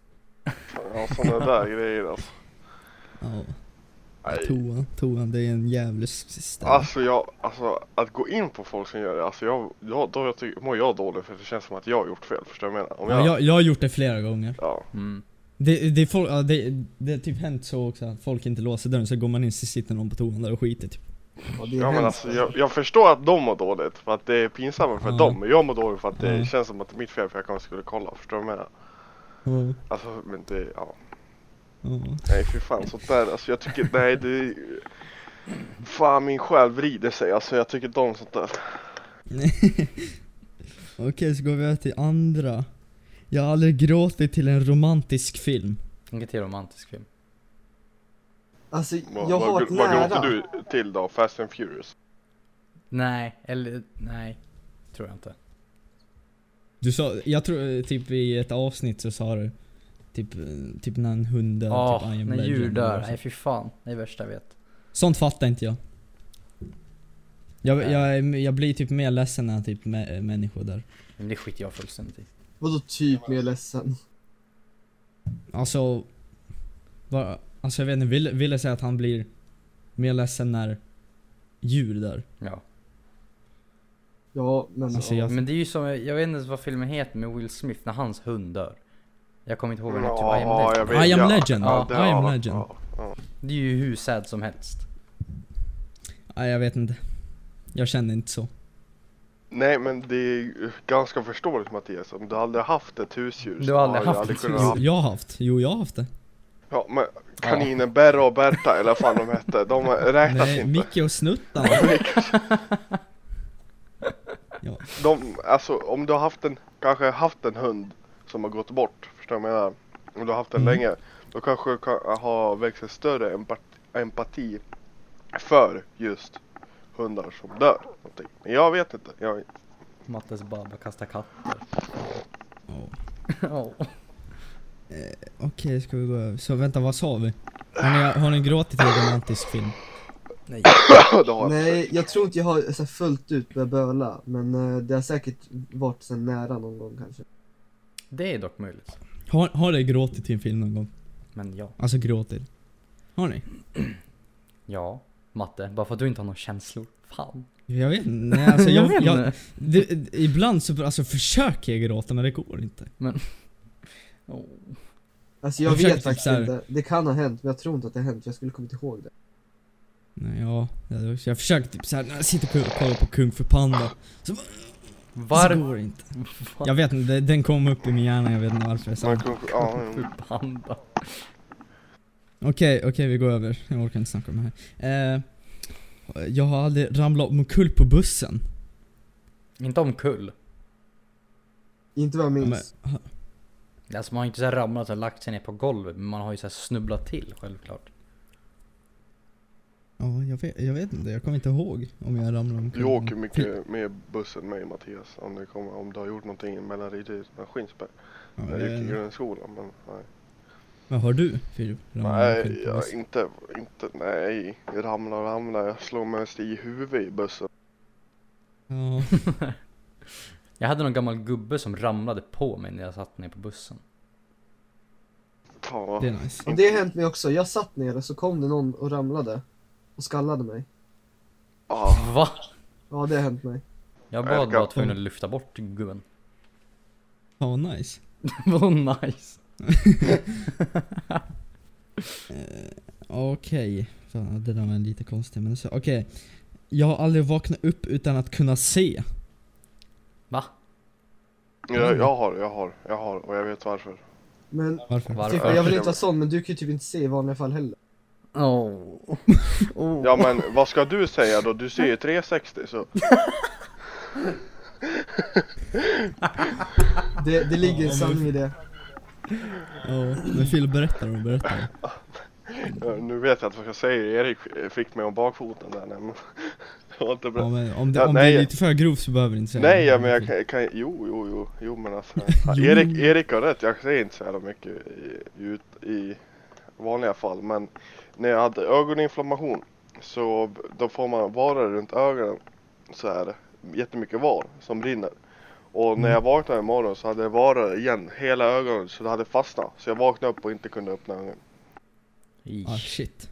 S2: Ja, sådana där grejer alltså.
S1: ja.
S2: Nej.
S1: Toan, toan, det är en jävlig s- ställe.
S3: Ah,
S2: Alltså jag, alltså att gå in på folk som gör det, alltså jag, jag, då jag tycker, mår jag dåligt för det känns som att jag har gjort fel, förstår du vad jag menar?
S1: ja,
S2: Om
S1: jag, jag har gjort det flera gånger.
S2: ja.
S3: Mm.
S1: Det, det, är folk, ja, det, det har typ hänt så också att folk inte låser dörren så går man in så sitter någon på toan där och skiter typ.
S5: Ja, det är
S2: Ja men
S5: hemskt,
S2: alltså jag, jag förstår att de mår dåligt för att det är pinsammare för
S1: Ja.
S2: dem men jag mår dåligt för att det
S1: Ja.
S2: känns som att det är mitt fel för jag kanske skulle kolla, förstår du vad jag menar?
S1: Ja.
S2: Alltså men det, ja.
S1: Ja.
S2: Nej fy fan sånt där, alltså jag tycker, nej det Fan min själ vrider sig alltså, jag tycker inte om sånt där
S1: Okej, så går vi över till andra. Jag har aldrig gråtit till en romantisk film.
S3: Inget till romantisk film.
S4: Alltså,
S2: Vad-
S4: jag
S2: vad-
S4: har ett
S2: Vad gråter
S4: nära.
S2: du till då? Fast and Furious?
S3: Nej, eller nej. Tror jag inte.
S1: Du sa, jag tror eh, typ i ett avsnitt så sa du typ, eh, typ när en hund dör,
S3: Ja,
S1: typ I am
S3: Ah, när djur
S1: legend
S3: dör.
S1: och så.
S3: Nej fy fan. Det är det värsta jag vet.
S1: Sånt fattar inte jag. Jag,
S3: Nej.
S1: jag, är- jag blir typ mer ledsen när typ mä- människor dör.
S3: Men det skiter jag fullständigt i.
S4: Vadå typ mer ledsen?
S1: Alltså, vad- alltså jag vet inte, ville, ville säga att han blir mer ledsen när djur dör.
S3: Ja.
S4: Ja, men...
S1: Alltså, jag-
S3: Men det är ju som, jag vet inte ens vad filmen heter med Will Smith när hans hund dör. Jag kommer inte ihåg vad den heter. I am
S2: Ja,
S3: Legend.
S2: jag
S1: I am
S2: ja.
S1: legend.
S2: Ja,
S1: I am
S2: ja,
S1: legend.
S2: ja, ja.
S3: Det är ju hur sad som helst.
S1: Nej jag vet inte. Jag känner inte så.
S2: Nej men det är ganska förståeligt Mattias, om du aldrig haft ett husdjur
S3: Du
S2: så
S3: har aldrig
S2: jag
S3: haft ett
S2: kunnat
S3: husdjur.
S1: Jo, jag har haft. Jo, jag har haft det.
S2: Ja men kaninen Berra och Berta eller vad fan de hette, de räknas
S1: Nej,
S2: inte
S1: Micke och Snuttan.
S2: de, alltså om du har haft en, kanske haft en hund som har gått bort, förstår du vad jag menar? Om du har haft den
S1: Mm.
S2: länge, då kanske du kan ha växt en större empati, empati för just hundar som dör. Någonting. Men jag vet inte, jag,
S3: Mattes babba kastar katter.
S1: Ja.
S3: Ja.
S1: Okej, ska vi gå över. Så vänta, vad sa vi? Har ni, har ni gråtit i en romantisk film?
S3: Nej.
S2: det har jag
S4: Nej, jag tror inte jag har så här, fullt ut börjat böla, men eh, det har säkert varit så här, nära någon gång kanske.
S3: Det är dock möjligt.
S1: Har, har ni gråtit i en film någon gång?
S3: Men ja.
S1: Alltså gråtit? Har ni?
S3: Ja. Matte, bara för att du inte har några känslor. Fan.
S1: Jag vet inte. Nej, alltså
S3: Jag
S1: jag,
S3: vet
S1: jag,
S3: inte.
S1: det, det- ibland så alltså, försöker jag gråta men det går inte.
S3: Åh.
S4: Alltså
S1: Jag
S4: jag,
S1: försöker
S4: vet
S1: typ
S4: faktiskt
S1: så här-
S4: inte, det kan ha hänt, men jag tror inte att det har hänt, jag skulle kommit ihåg det.
S1: Nej, ja, jag, jag försöker typ såhär, när jag sitter och kollar på Kung för Panda. Så
S3: Varför?
S1: går det inte. Jag vet inte, det- den kom upp i min hjärna, jag vet inte varför. jag sa
S2: Man
S1: det.
S2: kan, ja, jo.
S3: Panda.
S1: Okej, okej vi går över. Jag orkar inte snacka om det här. Eh, jag har aldrig ramlat omkull på bussen.
S3: Inte omkull.
S4: Inte vad jag
S1: Ja,
S4: minns.
S1: men, ha-
S3: Alltså man har ju inte så här ramlat och lagt sig ner på golvet. Men man har ju så här snubblat till självklart.
S1: ja, jag, vet, jag vet inte, jag kommer inte ihåg om jag ramlade omkull.
S2: Du åker
S1: Fy-
S2: mycket mer buss än mig Mattias, om du, kommer, om du har gjort någonting mellan Riddarhyttan och Skinsberg.
S1: Ja,
S2: Jag gick i
S1: jag,
S2: grundskolan men nej.
S1: men har du Filip? ramlat omkull
S2: Nej,
S1: på
S2: jag,
S1: bussen?
S2: inte, inte, nej. Jag ramlar och ramlar, jag slår mest i huvudet i bussen.
S1: Ja.
S3: Jag hade någon gammal gubbe som ramlade på mig när jag satt ner på bussen.
S2: Ja.
S1: Det är nice.
S4: Och det har hänt mig också, jag satt ner och så kom det någon och ramlade. Och skallade mig.
S2: Ah.
S3: Va?
S4: Ja, det har hänt mig.
S3: Jag
S2: Nej,
S3: bad
S2: det kan-
S3: bara tvungen att lyfta bort gubben.
S1: Ja, nice.
S3: Vad nice.
S1: Okej. Fan, det där var lite konstigt men så, okej. Jag har aldrig vaknat upp utan att kunna se.
S3: Va?
S2: Jag, jag har, jag har, jag har och jag vet varför.
S4: Men,
S1: Varför?
S3: Varför?
S4: typ, jag vill inte vara sån, men du kan ju typ inte se i vanliga fall heller.
S3: Oh. Oh.
S2: Ja men vad ska du säga då? Du ser ju 360 så.
S4: Det, det ligger
S1: Ja,
S4: en
S1: men-
S4: sanning i det.
S1: Ja, men Filip berättar och berättar.
S2: Ja, eh, Nu vet jag att vad jag säger, Erik fick mig om bakfoten där nej, men. Det var inte
S1: Ja,
S2: bra.
S1: men om det,
S2: Ja,
S1: om
S2: nej.
S1: det är lite för grovt så behöver du inte säga det.
S2: Nej ja, men jag kan, kan, jo jo jo, jo men alltså. Ja, Erik, Erik har rätt, jag säger inte så jävla mycket i, ut, i vanliga fall men när jag hade ögoninflammation så b- då får man varar runt ögonen så här jättemycket var som rinner. Och
S4: Mm.
S2: när jag vaknade imorgon så hade jag varar igen hela ögonen så det hade fastnat. Så jag vaknade upp och inte kunde öppna ögonen.
S1: Ah
S3: Ish.
S1: shit.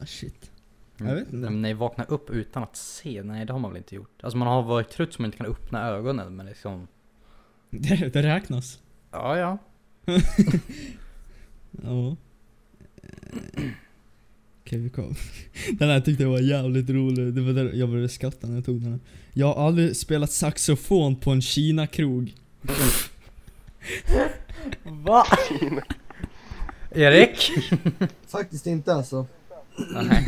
S1: Ah shit.
S3: Mm.
S1: Jag vet inte.
S3: Men nej, vakna upp utan att se, nej det har man väl inte gjort. Alltså man har varit trött så man inte kan öppna ögonen men liksom...
S1: Det, det räknas.
S3: Ja, ja.
S1: Ja. Eh, Okej vi kom. Den här tyckte jag var jävligt rolig. Det var där jag började skratta när jag tog den. här. Jag har aldrig spelat saxofon på en Kina-krog.
S3: Va? Erik?
S4: Faktiskt inte alltså.
S3: Nej.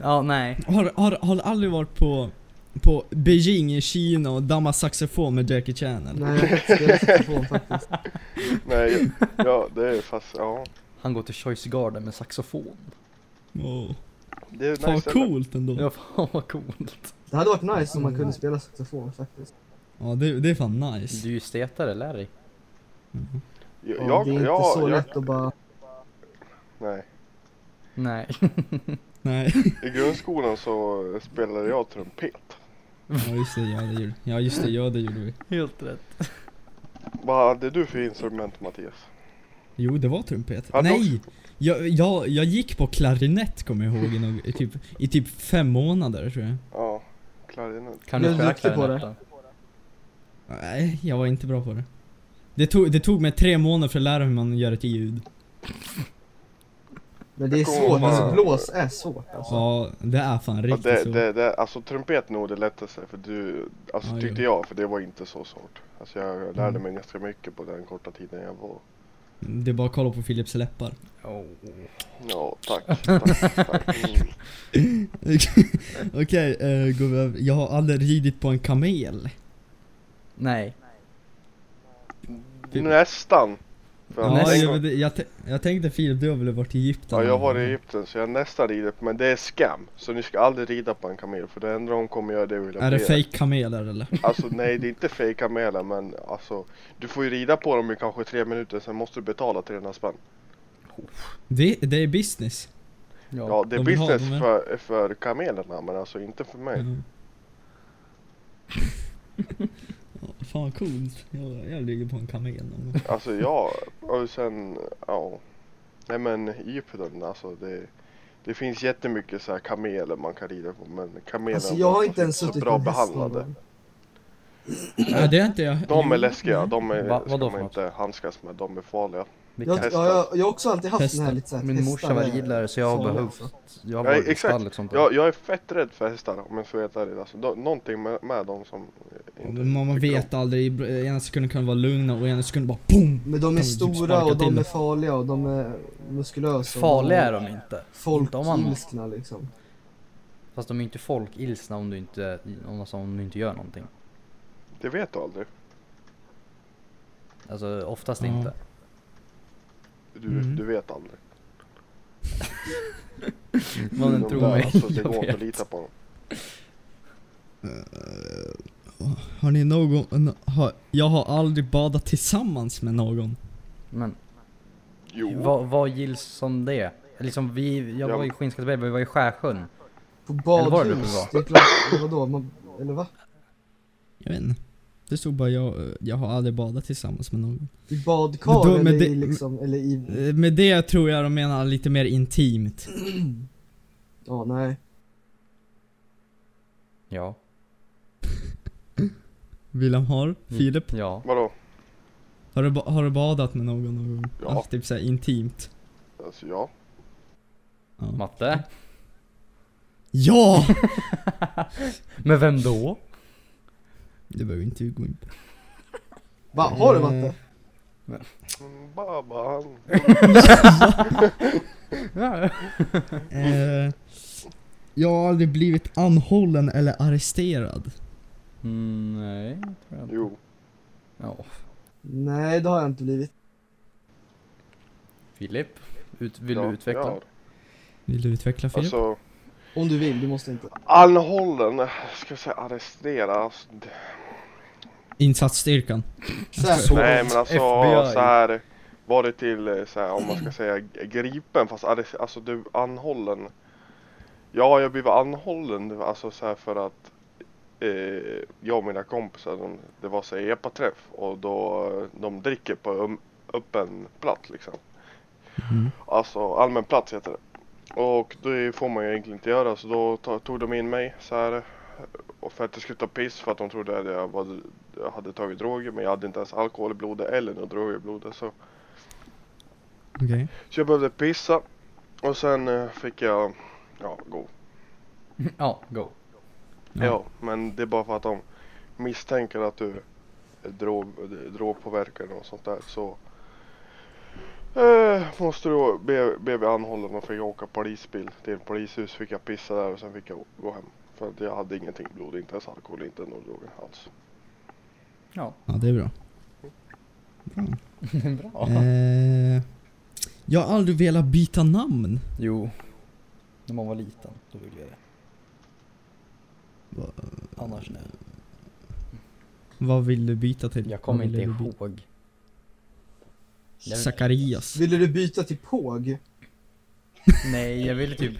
S3: Ja, nej.
S1: Har, har, har du aldrig varit på, på Beijing i Kina och dammat saxofon med Jackie Chan eller?
S4: Nej, spelar saxofon faktiskt.
S2: Nej, ja det är fast, ja.
S3: Han går till Choice Garden med saxofon.
S1: Åh,
S2: Det är
S1: Fan
S2: nice
S1: coolt ändå. Ja,
S3: Ja, fan vad coolt.
S4: Det hade varit nice om man kunde spela saxofon faktiskt.
S1: det, det är fan nice.
S3: Du är ju stetare, Larry.
S2: Mm. Jag,
S4: Ja,
S2: jag,
S4: det är inte
S2: jag,
S4: så lätt att bara...
S2: nej.
S3: Nej.
S1: Nej.
S2: I grundskolan så spelade jag trumpet.
S1: Ja just det, ja det gjorde, ja, just det, ja, det gjorde vi.
S3: Helt rätt.
S2: Vad hade du för instrument Mattias?
S1: Jo, det var trumpet.
S2: Ja, då-
S1: Nej! Jag, jag, jag gick på klarinett kommer jag ihåg i, nog, i, typ, i typ fem månader tror jag.
S2: Ja, klarinett.
S3: Kan
S4: Jag
S3: du
S4: är
S3: spela
S4: duktig på
S3: klarinett då?
S1: Nej, jag var inte bra på det. Det tog, det tog mig tre månader för att lära mig hur man gör ett ljud.
S4: Men det är
S2: Jag kommer
S4: svårt, alltså
S2: bara-
S4: blås är svårt alltså.
S1: Ja, det är fan
S2: Ja,
S1: riktigt
S2: det,
S1: så.
S2: det, det, alltså trumpet nog det lättaste för du, alltså
S1: Ja, ja.
S2: tyckte jag för det var inte så svårt. Alltså jag lärde
S1: Mm.
S2: mig ganska mycket på den korta tiden jag var.
S1: Det är bara att kolla på Philips läppar.
S3: Oh.
S2: Ja, tack. tack, tack. Mm.
S1: Okej, eh, går vi över. Jag har aldrig ridit på en kamel.
S3: Nej.
S2: Mm. Nästan. För att
S1: Ja,
S2: en
S1: jag,
S2: gång-
S1: jag, jag, tän- jag tänkte Filip, du har väl varit i Egypten?
S2: ja, jag var i Egypten så jag nästan rider på, men det är scam. Så ni ska aldrig rida på en kamel för det enda de kommer göra det är att vilja
S1: Är det
S2: bli-
S1: fake kameler eller?
S2: Alltså nej det är inte fake kameler men alltså Du får ju rida på dem i kanske tre minuter sen måste du betala 300 spänn
S1: Det, det är business.
S3: Ja.
S2: Ja det är
S1: de vill ha dem,
S2: business
S1: ja.
S2: för, för kamelerna men alltså inte för mig
S1: Mm. Ja, fan vad coolt. Jag, jag ligger på en kamel någon gång.
S2: Alltså ja, och sen ja Nej men Egypten alltså det Det finns jättemycket så här kameler man kan rida på men kameler
S4: Alltså jag har inte ens
S2: så
S4: suttit på
S2: bra
S4: en häst någon
S2: behandlade
S4: gång.
S1: Ja, det är inte jag.
S2: De är
S1: Jo,
S2: läskiga,
S1: nej.
S2: de är,
S3: Va-
S2: ska
S3: vadå för
S2: man
S3: något?
S2: inte handskas med, de är farliga
S4: Jag,
S3: Vilka?
S4: ja, jag, jag har också alltid haft den här
S1: Hästar.
S4: lite såhär
S3: Min morsa var ridlärare så jag har behövt... Jag har
S2: Ja,
S3: varit i
S2: exakt.
S3: stallet sånt där.
S2: jag, jag är fett rädd för hästar om jag ska vara helt ärlig alltså, de, Någonting med, med dem som eh,
S1: Ja,
S2: inte
S1: men Man, man
S2: tycker om.
S1: vet aldrig, I ena sekunden kan de vara lugna och i ena sekunden bara BOOM!
S4: Men de
S1: Kan
S4: är
S1: du typ
S4: stora
S1: sparka
S4: och
S1: till
S4: de är
S1: det?
S4: farliga och de är muskulösa. och
S3: Farliga är
S4: de.
S3: de inte. de har man-
S4: Folkilskna liksom.
S3: Fast de är inte folkilsna om du inte, om, alltså, om du inte gör någonting.
S2: Det vet du aldrig
S3: Alltså oftast
S1: Ja.
S3: inte.
S2: Du,
S1: Mm.
S2: du vet aldrig.
S3: Mannen
S2: De
S3: tror
S2: där,
S3: mig,
S2: Alltså, det
S3: jag
S2: går inte
S3: vet.
S2: att lita på dem.
S1: Eh, Har ni någon, har, jag har aldrig badat tillsammans med någon.
S3: Men
S2: Jo.
S3: vad, vad gills som det? Liksom vi, jag
S2: Ja.
S3: var i Skinnskatteberg, vi var i Skärsjön.
S4: På
S3: Eller var det
S4: badhus. Det
S3: det
S4: är klart, eller vadå? Man, eller va?
S1: Jag vet inte. Det stod bara jag, eh, jag har aldrig badat tillsammans med någon.
S4: I
S1: Men då-
S4: badkar
S1: men
S4: eller i
S1: det-
S4: liksom, eller i...
S1: Eh, Med det tror jag de menar lite mer intimt.
S4: Ja, nej.
S3: Ja.
S1: William har, Filip,
S3: Ja.
S2: Vadå?
S1: har du, ba- har du badat med någon någon gång?
S2: Ja.
S1: Alltså, typ såhär intimt.
S2: Alltså ja.
S1: Ja!
S3: Matte?
S1: ja!
S3: Men vem då?
S1: Det behöver inte vi gå in på.
S4: Va, har du Matte?
S2: Mm, Baba han.
S3: Ja.
S1: Eh, jag har aldrig blivit anhållen eller arresterad.
S3: Mm, nej, tror jag inte.
S2: Jo.
S3: Ja.
S4: Nej, det har jag inte blivit.
S3: Filip? Ut, vill
S2: ja,
S3: du utveckla?
S2: Ja.
S1: Vill du utveckla Filip?
S2: Alltså.
S4: Om du vill, du måste inte.
S2: Anhållen. Ska jag säga arresterad? Alltså, d-
S1: Insatsstyrkan.
S4: Säpo.
S2: nej men alltså
S3: FBI.
S2: så här. Var det till eh, så här, om man ska säga g- gripen fast arres- alltså du anhållen. Ja jag blev anhållen alltså så här för att eh, jag och mina kompisar de, det var så här epaträff och då eh, de dricker på um, öppen plats liksom.
S1: Mm.
S2: Alltså allmän plats heter det. Och det får man ju egentligen inte göra så då to- tog de in mig så här. Och för att jag skulle ta piss för att de trodde att jag, var, jag hade tagit droger men jag hade inte ens alkohol i blodet eller några droger i blodet. Så,
S1: Okej.
S2: så jag behövde pissa. Och sen eh, fick jag, ja gå.
S3: Ja, go.
S1: Ja.
S2: Ja. men det är bara för att de misstänker att du är drog, drogpåverkad och sånt där så Eh, måste då be, blev jag anhållen och fick åka polisbil till en polishus. Fick jag pissa där och sen fick jag gå hem. För att jag hade ingenting i blodet, inte ens alkohol, inte några droger alls.
S3: Ja,
S1: Ja, det är bra. Bra.
S3: bra.
S1: Eh, jag har aldrig velat byta namn.
S3: Jo. När man var liten, då ville jag det.
S1: Va-
S3: Annars nej.
S1: Vad vill du byta till?
S3: Jag kommer
S1: Vad
S3: inte
S1: vill du byta-
S3: ihåg. Jag-
S1: Zacharias.
S5: Ville du byta till Påg?
S3: Nej, jag ville typ...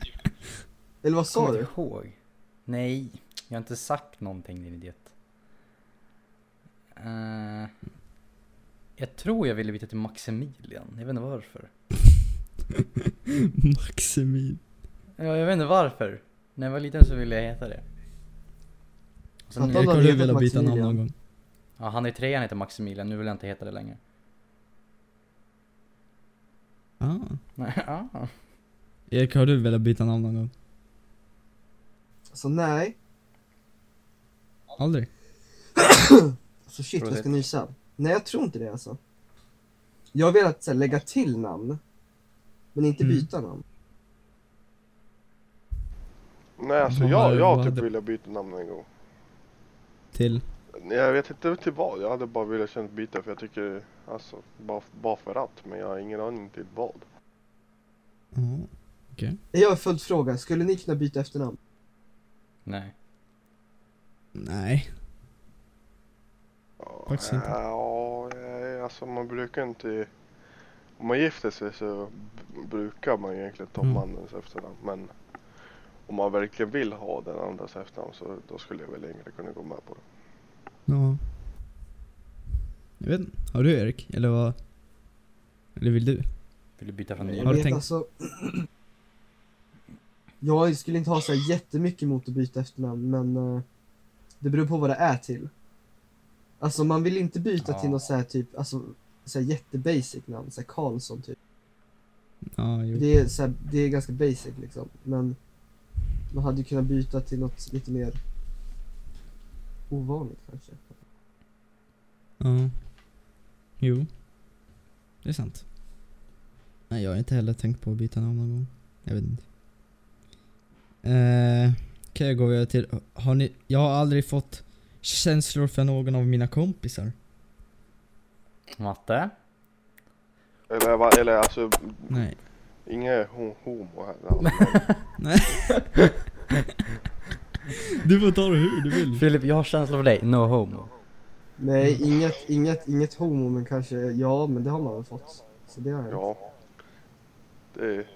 S5: Eller vad
S3: Kommer
S5: sa
S3: inte
S5: du?
S3: ihåg. Nej, jag har inte sagt någonting din idiot. Eh, jag tror jag ville byta till Maximilian. Jag vet inte varför.
S1: Maximin.
S3: Ja, jag vet inte varför. När jag var liten så ville jag heta det. Och sen,
S5: Att
S3: nu,
S5: han-
S1: Jag
S5: har
S1: kommer
S5: vetat
S1: vilja byta namn
S5: Maximilian.
S1: någon gång.
S3: ja, han i trean heter Maximilian, nu vill jag inte heta det längre.
S1: Ah.
S3: Nej, ah.
S1: Erik, har du velat byta namn någon gång?
S5: Alltså nej.
S1: Aldrig?
S5: Alltså shit,
S3: Tror du
S5: jag ska
S3: det?
S5: nysa. Nej, jag tror inte det alltså. Jag har velat så här, lägga till namn. Men inte
S1: Mm.
S5: byta namn.
S2: Nej alltså
S1: Vad
S2: jag,
S1: var-
S2: jag
S1: vad
S2: typ
S1: hade-
S2: ville byta namn en gång.
S1: Till?
S2: Jag vet inte till vad, jag hade bara velat känna byta för jag tycker alltså bara, bara för att men jag har ingen aning till vad.
S1: Ja.
S5: Jag har en följdfråga. Skulle ni kunna byta efternamn?
S3: Nej.
S1: Nej.
S2: Ja,
S1: Faktiskt inte.
S2: Ja, eh, alltså man brukar inte om man gifter sig så b- brukar man egentligen ta
S1: Mm.
S2: mannens efternamn men om man verkligen vill ha den andras efternamn så då skulle jag väl längre kunna gå med på det.
S1: Ja. Jag vet inte. Har du Erik? Eller vad? Eller vill du?
S3: Vill du byta från
S1: Nej,
S3: ny?
S1: jag
S5: Jag
S1: du
S5: vet
S1: tänkt-
S5: alltså... Jag skulle inte ha så här jättemycket emot att byta efternamn, men eh, det beror på vad det är till. Alltså man vill inte byta till
S3: Ja.
S5: något så här typ, alltså så här jättebasic namn, så här Karlsson typ.
S1: Ja, jo.
S5: Det är, så här, det är ganska basic liksom, men man hade ju kunnat byta till något lite mer ovanligt kanske.
S1: Ja. Jo. Det är sant. Nej, jag har inte heller tänkt på att byta namn någon gång. Jag vet inte. Eh, Okej, jag går vidare till... Har ni... Jag har aldrig fått känslor för någon av mina kompisar.
S3: Matte?
S2: Eller, va- eller alltså
S1: Nej.
S2: inget ho- homo här. Alltså,
S1: Du får ta det hur du vill.
S3: Filip, jag har känslor för dig. No homo.
S5: Nej,
S1: Mm.
S5: inget, inget, inget homo, men kanske, ja, men det har man väl fått. Så det har jag.
S2: ja. Det är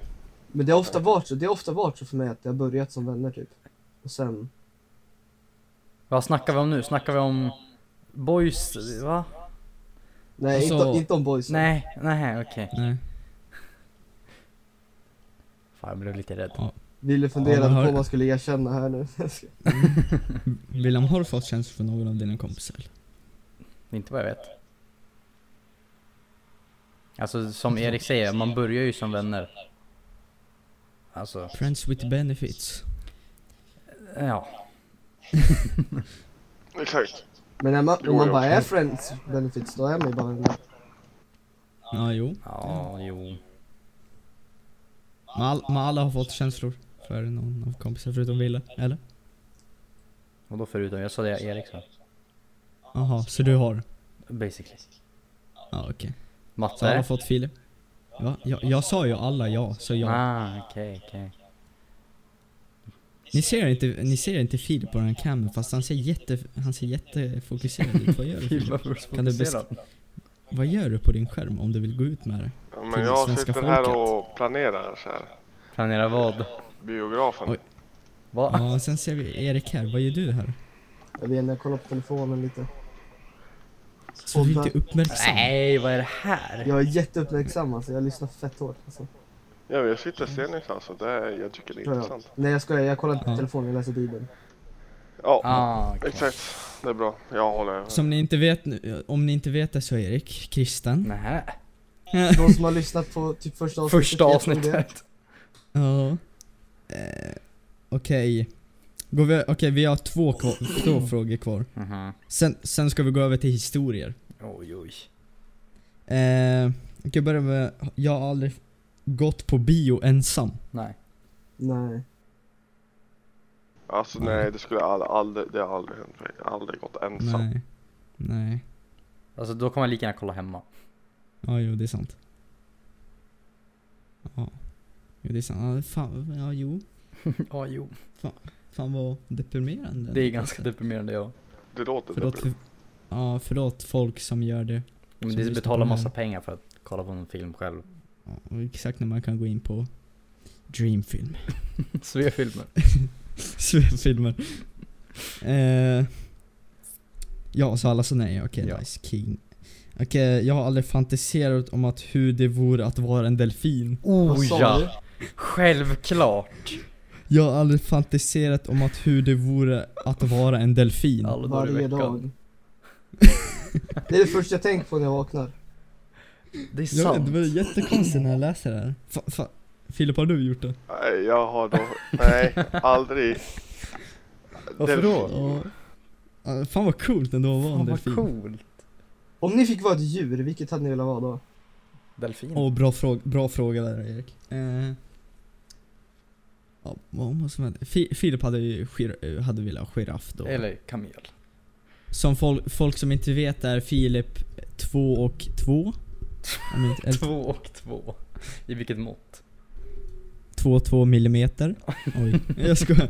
S5: Men det har ofta varit så, det har ofta varit så för mig att det har börjat som vänner typ. Och sen,
S3: Vad snackar vi om nu? Snackar vi om boys? Va?
S5: nej
S1: Alltså-
S5: inte, inte om boys.
S3: Nej, nej, okej.
S1: Nej.
S3: Fan, jag blev lite rädd.
S5: Ville fundera
S1: Ja, men har-
S5: på om man skulle erkänna här nu.
S1: William, har du fått känslor för någon av dina kompisar?
S3: Inte vad jag vet. Alltså som Erik säger, man börjar ju som vänner. Alltså,
S1: Friends with benefits.
S3: ja.
S2: exakt.
S5: Men när man,
S2: Jo,
S5: om man
S2: jag också.
S5: bara är friends benefits, då är man ju bara vänner.
S1: Ja, jo.
S3: Ja, jo.
S1: Men, all, men alla har fått känslor för någon av kompisar förutom Wille, eller?
S3: Och då förutom, jag sa det Erik sa.
S1: Jaha, så du har?
S3: Basically.
S1: Ja, okej. Så alla har
S3: Matte?
S1: fått Filip? Ja, jag, jag sa ju alla ja, så ja.
S3: Ah, okej, okej.
S1: Ni ser inte, ni ser inte Filip på den här kameran fast han ser jätte, han ser jättefokuserad ut. Vad gör du Filip? Kan du bes- Vad gör du på din skärm om du vill gå ut med det?
S2: Ja,
S1: Till
S2: men
S1: det
S2: jag
S1: svenska
S2: sitter här
S1: folket.
S2: och planerar så här.
S3: Planera vad?
S2: Biografen.
S1: Oj.
S3: Vad?
S1: Ja, sen ser vi Erik här. Vad gör du här?
S5: Jag vet inte, jag kollar på telefonen lite.
S1: Så du är inte uppmärksam.
S3: Nej, vad är det här?
S5: Jag är jätteuppmärksam alltså, jag lyssnar fett hårt alltså.
S2: Ja, men jag sitter stenigt alltså. Det är, jag tycker det är
S5: Ja, ja.
S2: intressant.
S5: Nej jag skojar, jag kollar inte på
S1: Ja.
S5: telefonen, jag läser bibeln.
S2: Ja,
S3: Ah, okej.
S2: exakt. Det är bra. Jag håller.
S1: Som ni inte vet nu, om ni inte vet det så är Erik kristen.
S3: Nähä.
S5: De som har lyssnat på typ första avsnittet.
S3: Första
S5: vet nog det.
S3: avsnittet.
S1: Ja. Eh, Okej. Går vi- Okej, vi har två, kvar, två frågor kvar.
S3: Mhm.
S1: Sen, sen ska vi gå över till historier.
S3: Oj, oj.
S1: Eh, Vi kan börja med, jag har aldrig gått på bio ensam.
S3: Nej.
S5: Nej.
S2: Alltså nej, det skulle aldrig, aldrig, det har aldrig hänt mig. Jag har aldrig gått ensam.
S1: Nej. Nej.
S3: Alltså då kan man lika gärna kolla hemma.
S1: Ja, jo det är sant. Ja. Jo det är sant. Ja, det- fan, ja jo.
S3: Ja, jo.
S1: Fan vad deprimerande.
S3: Det är ganska deprimerande ja.
S2: Det låter
S1: Förlåt
S2: deprimerande.
S1: för, ja, förlåt folk som gör det.
S3: Men
S1: Så
S3: det
S1: lyssna
S3: betalar
S1: på
S3: massa
S1: den.
S3: pengar för att kolla på en film själv.
S1: Ja, och exakt när man kan gå in på Dreamfilm.
S3: Svefilmer.
S1: Svefilmer. eh, ja, så alla sa nej. Okej,
S3: Ja.
S1: nice king. Okej, jag har aldrig fantiserat om att hur det vore att vara en delfin.
S3: Oh
S5: sa du?
S3: ja! Självklart!
S1: Jag har aldrig fantiserat om att hur det vore att vara en delfin.
S3: Alla dagar i
S5: Varje
S3: veckan.
S5: dag. det är det första jag tänker på när jag vaknar.
S3: Det är
S1: Jag vet,
S3: sant.
S1: det var jättekonstigt när jag läste det här. Fa, fa, Filip, har du gjort det?
S2: Nej, jag har då, nej, aldrig.
S3: Varför då?
S1: Ja. Ja, Fan vad coolt ändå att vara en
S3: Fan
S1: delfin.
S3: vad cool.
S5: Om ni fick vara ett djur, vilket hade ni velat vara då?
S3: Delfin.
S1: Åh, bra, fråga, bra fråga där Erik. Eh, ja, vad måste man... Fi- Filip hade ju gir- hade velat ha giraff då.
S3: Eller kamel.
S1: Som folk, folk som inte vet är Filip 2 och 2. Om inte- eller
S3: Två och två. I vilket mått?
S1: 2 och 2 millimeter. Oj, jag skojar.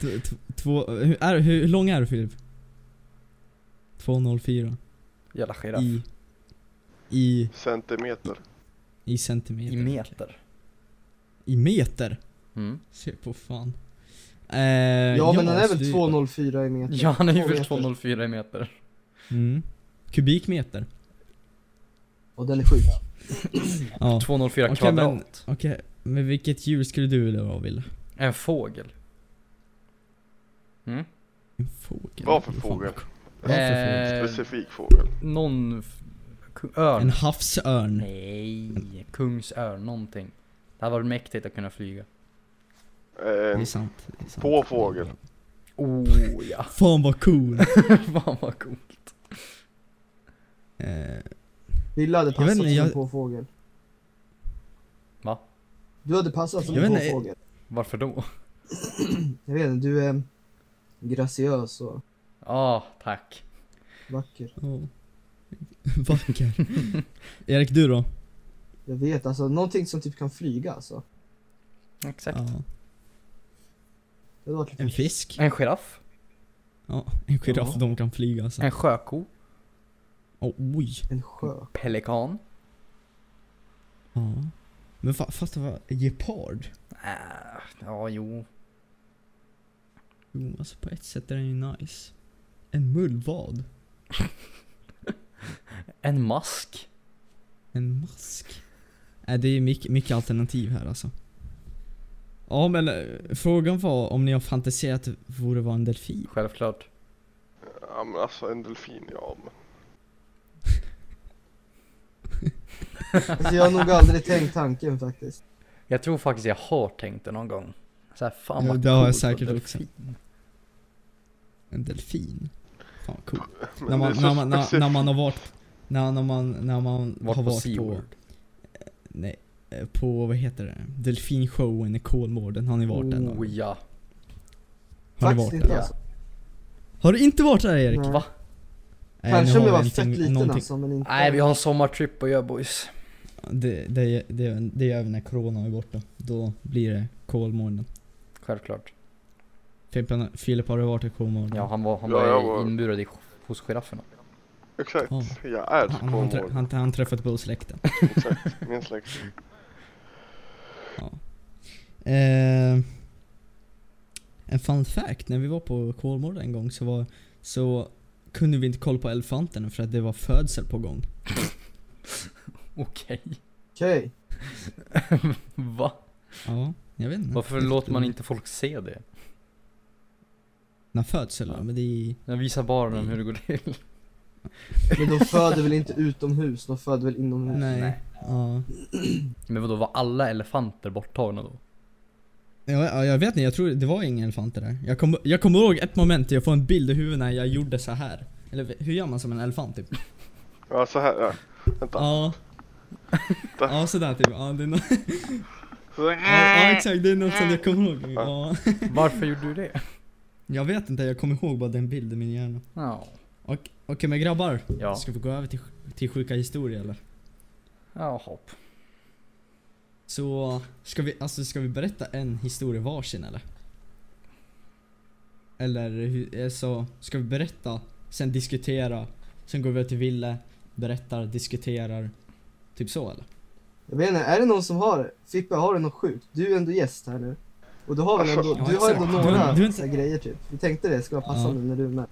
S1: T- t- Två, hur, är, hur lång är du Filip? 2,04
S3: Jävla giraff. I,
S1: i, i,
S2: Centimeter.
S1: i centimeter.
S3: meter.
S1: I meter?
S3: Mm.
S1: Se på fan. Eh, ja,
S5: ja, men den är
S1: så
S5: väl
S1: du-
S5: 2,04 i meter?
S3: Ja, han är ju
S5: Två
S3: väl
S5: meter.
S3: 204 i meter.
S1: Mm. Kubikmeter?
S5: Och den är sjuk.
S1: Ja.
S3: 204
S1: Okej,
S3: kvadrat.
S1: Okej, men vilket djur skulle du vilja vara Wille?
S3: En fågel. Mm.
S1: En fågel?
S2: Vad för
S1: Fan,
S2: fågel?
S1: Vad för
S3: Eh,
S2: Specifik fågel.
S3: Någon... f- ku-
S1: fågel? En
S3: Örn.
S1: havsörn?
S3: Nej. Kungsörn, någonting. Det hade varit mäktigt att kunna flyga.
S1: Det är
S2: En
S1: sant. Det är sant.
S2: påfågel.
S3: Oh ja.
S1: Fan vad cool!
S3: Fan vad cool.
S1: eh,
S5: Wille hade
S1: Jag vet
S5: passat
S1: inte,
S5: som
S1: jag-
S5: en påfågel.
S3: Va?
S5: Du hade passat som
S1: Jag
S5: en
S1: vet inte,
S5: påfågel.
S3: Varför då?
S5: Jag vet inte, du är graciös och
S3: Ja, tack.
S5: vacker.
S1: oh. Vacker. Erik, du då?
S5: Jag vet, alltså någonting som typ kan flyga alltså.
S3: Exakt.
S1: Ja.
S5: Det hade varit lite...
S1: En fisk?
S3: En giraff.
S1: Ja, en giraff,
S5: Ja.
S1: de kan flyga alltså.
S3: En sjöko.
S1: Åh, oj.
S5: En sjö.
S3: Pelikan.
S1: Ja. Men fa- fatta vad, gepard?
S3: Äh, ja, jo.
S1: Jo, alltså på ett sätt är den ju nice. En mullvad?
S3: En mask.
S1: En mask? Nej, det är mycket, mycket alternativ här alltså. Ja men eh, frågan var om ni har fantiserat vore vara en delfin?
S3: Självklart.
S2: Ja men alltså en delfin, ja men.
S5: Alltså jag har nog aldrig tänkt tanken faktiskt.
S3: Jag tror faktiskt jag har tänkt det någon gång. Så här, fan
S1: Ja,
S3: vad
S1: det har jag
S3: coolt
S1: säkert
S3: och
S1: också.
S3: delfin.
S1: En delfin? Fan cool.
S2: Men
S1: När
S2: det är
S1: man,
S2: så
S1: när, man, när,
S2: specifikt.
S1: när man har varit... När, när man, när man
S3: Vart
S1: har
S3: på
S1: varit på...
S3: SeaWorld.
S1: Nej, eh, på vad heter det? Delfinshowen i Kolmården, har ni varit där någon
S3: Oh
S1: gång?
S3: ja.
S1: Har ni
S5: Faktiskt
S1: varit där?
S5: inte
S3: ja.
S5: alltså.
S1: Har du inte varit där Erik?
S5: Nej.
S3: Va?
S1: Nej,
S5: Mm. Kanske
S1: nu
S5: om jag
S1: har
S5: var
S1: vi
S5: fett
S1: någonting-
S5: liten
S1: någonting-
S5: alltså, men inte...
S3: Nej, vi har en sommartrip att göra boys.
S1: Det, det, det, det gör vi när corona är borta. Då blir det Kolmården.
S3: Självklart.
S1: Filip- Typ Filip, har du varit i Kolmården?
S3: Ja, han var, han
S2: Ja,
S3: var,
S2: jag var-
S3: inburad i, hos girafferna.
S2: Exakt,
S1: Ja.
S2: jag är
S1: Han, han, trä-
S2: Kolmården.
S1: han, han träffade på släkten.
S2: Exakt, min släkt.
S1: Eh, en fun fact, när vi var på Kolmården en gång så, var, så kunde vi inte kolla på elefanterna för att det var födsel på gång.
S3: Okej.
S5: Okej.
S3: Va?
S1: Ja, jag vet inte.
S3: Varför låter man inte folk se det?
S1: När födsel ja. men det är...
S3: Jag visar barnen hur det går till.
S5: Men de föder väl inte utomhus, de föder väl inomhus?
S1: Nej. Ja.
S3: Men vadå, var alla elefanter borttagna då?
S1: Ja, ja, jag vet inte, jag tror det var inga elefanter där. Jag kommer jag kommer ihåg ett moment, jag får en bild i huvudet när jag gjorde så här. Eller hur gör man som en elefant typ?
S2: Ja så här, ja. vänta.
S1: Ja. Ja sådär typ, ja det är nå- ja, ja exakt, det är något som jag kommer ihåg. Ja.
S3: Varför gjorde du det?
S1: Jag vet inte, jag kommer ihåg bara den bilden i min hjärna.
S3: Ja.
S1: Och- Okej men grabbar,
S3: Ja.
S1: ska vi gå över till, till sjuka historier eller?
S3: Ja, hopp.
S1: Så, ska vi, alltså, ska vi berätta en historia varsin eller? Eller hur- alltså, ska vi berätta, sen diskutera, sen går vi över till Ville, berättar, diskuterar. Typ så eller?
S5: Jag vet inte, är det någon som har, Fippa har du något sjukt? Du är ändå gäst här nu. Och du har väl ändå,
S2: Alltså,
S1: ja,
S5: du har ändå
S1: exakt.
S5: några
S1: Du- du är
S5: såna
S1: inte-
S5: här grejer typ. Vi tänkte det skulle vara passande när du är med.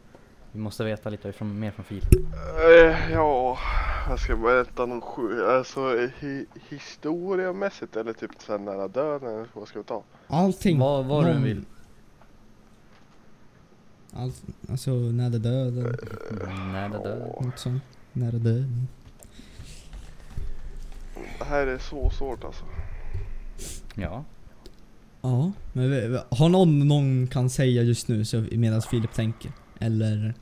S3: Vi måste veta lite från, mer från Filip.
S2: Eh, Ja, jag ska berätta någon sju. Alltså hi historiemässigt eller typ så här nära döden eller vad ska vi ta?
S1: Allting.
S3: Vad, vad du
S1: Någon-
S3: än vill.
S1: Allt, alltså nära döden,
S3: Nej, det där.
S2: Åh,
S1: något sånt. Nära döden.
S2: det här är så svårt alltså.
S3: Ja.
S1: Ja, men vi- vi- har någon någon kan säga just nu så medan Filip tänker? Eller?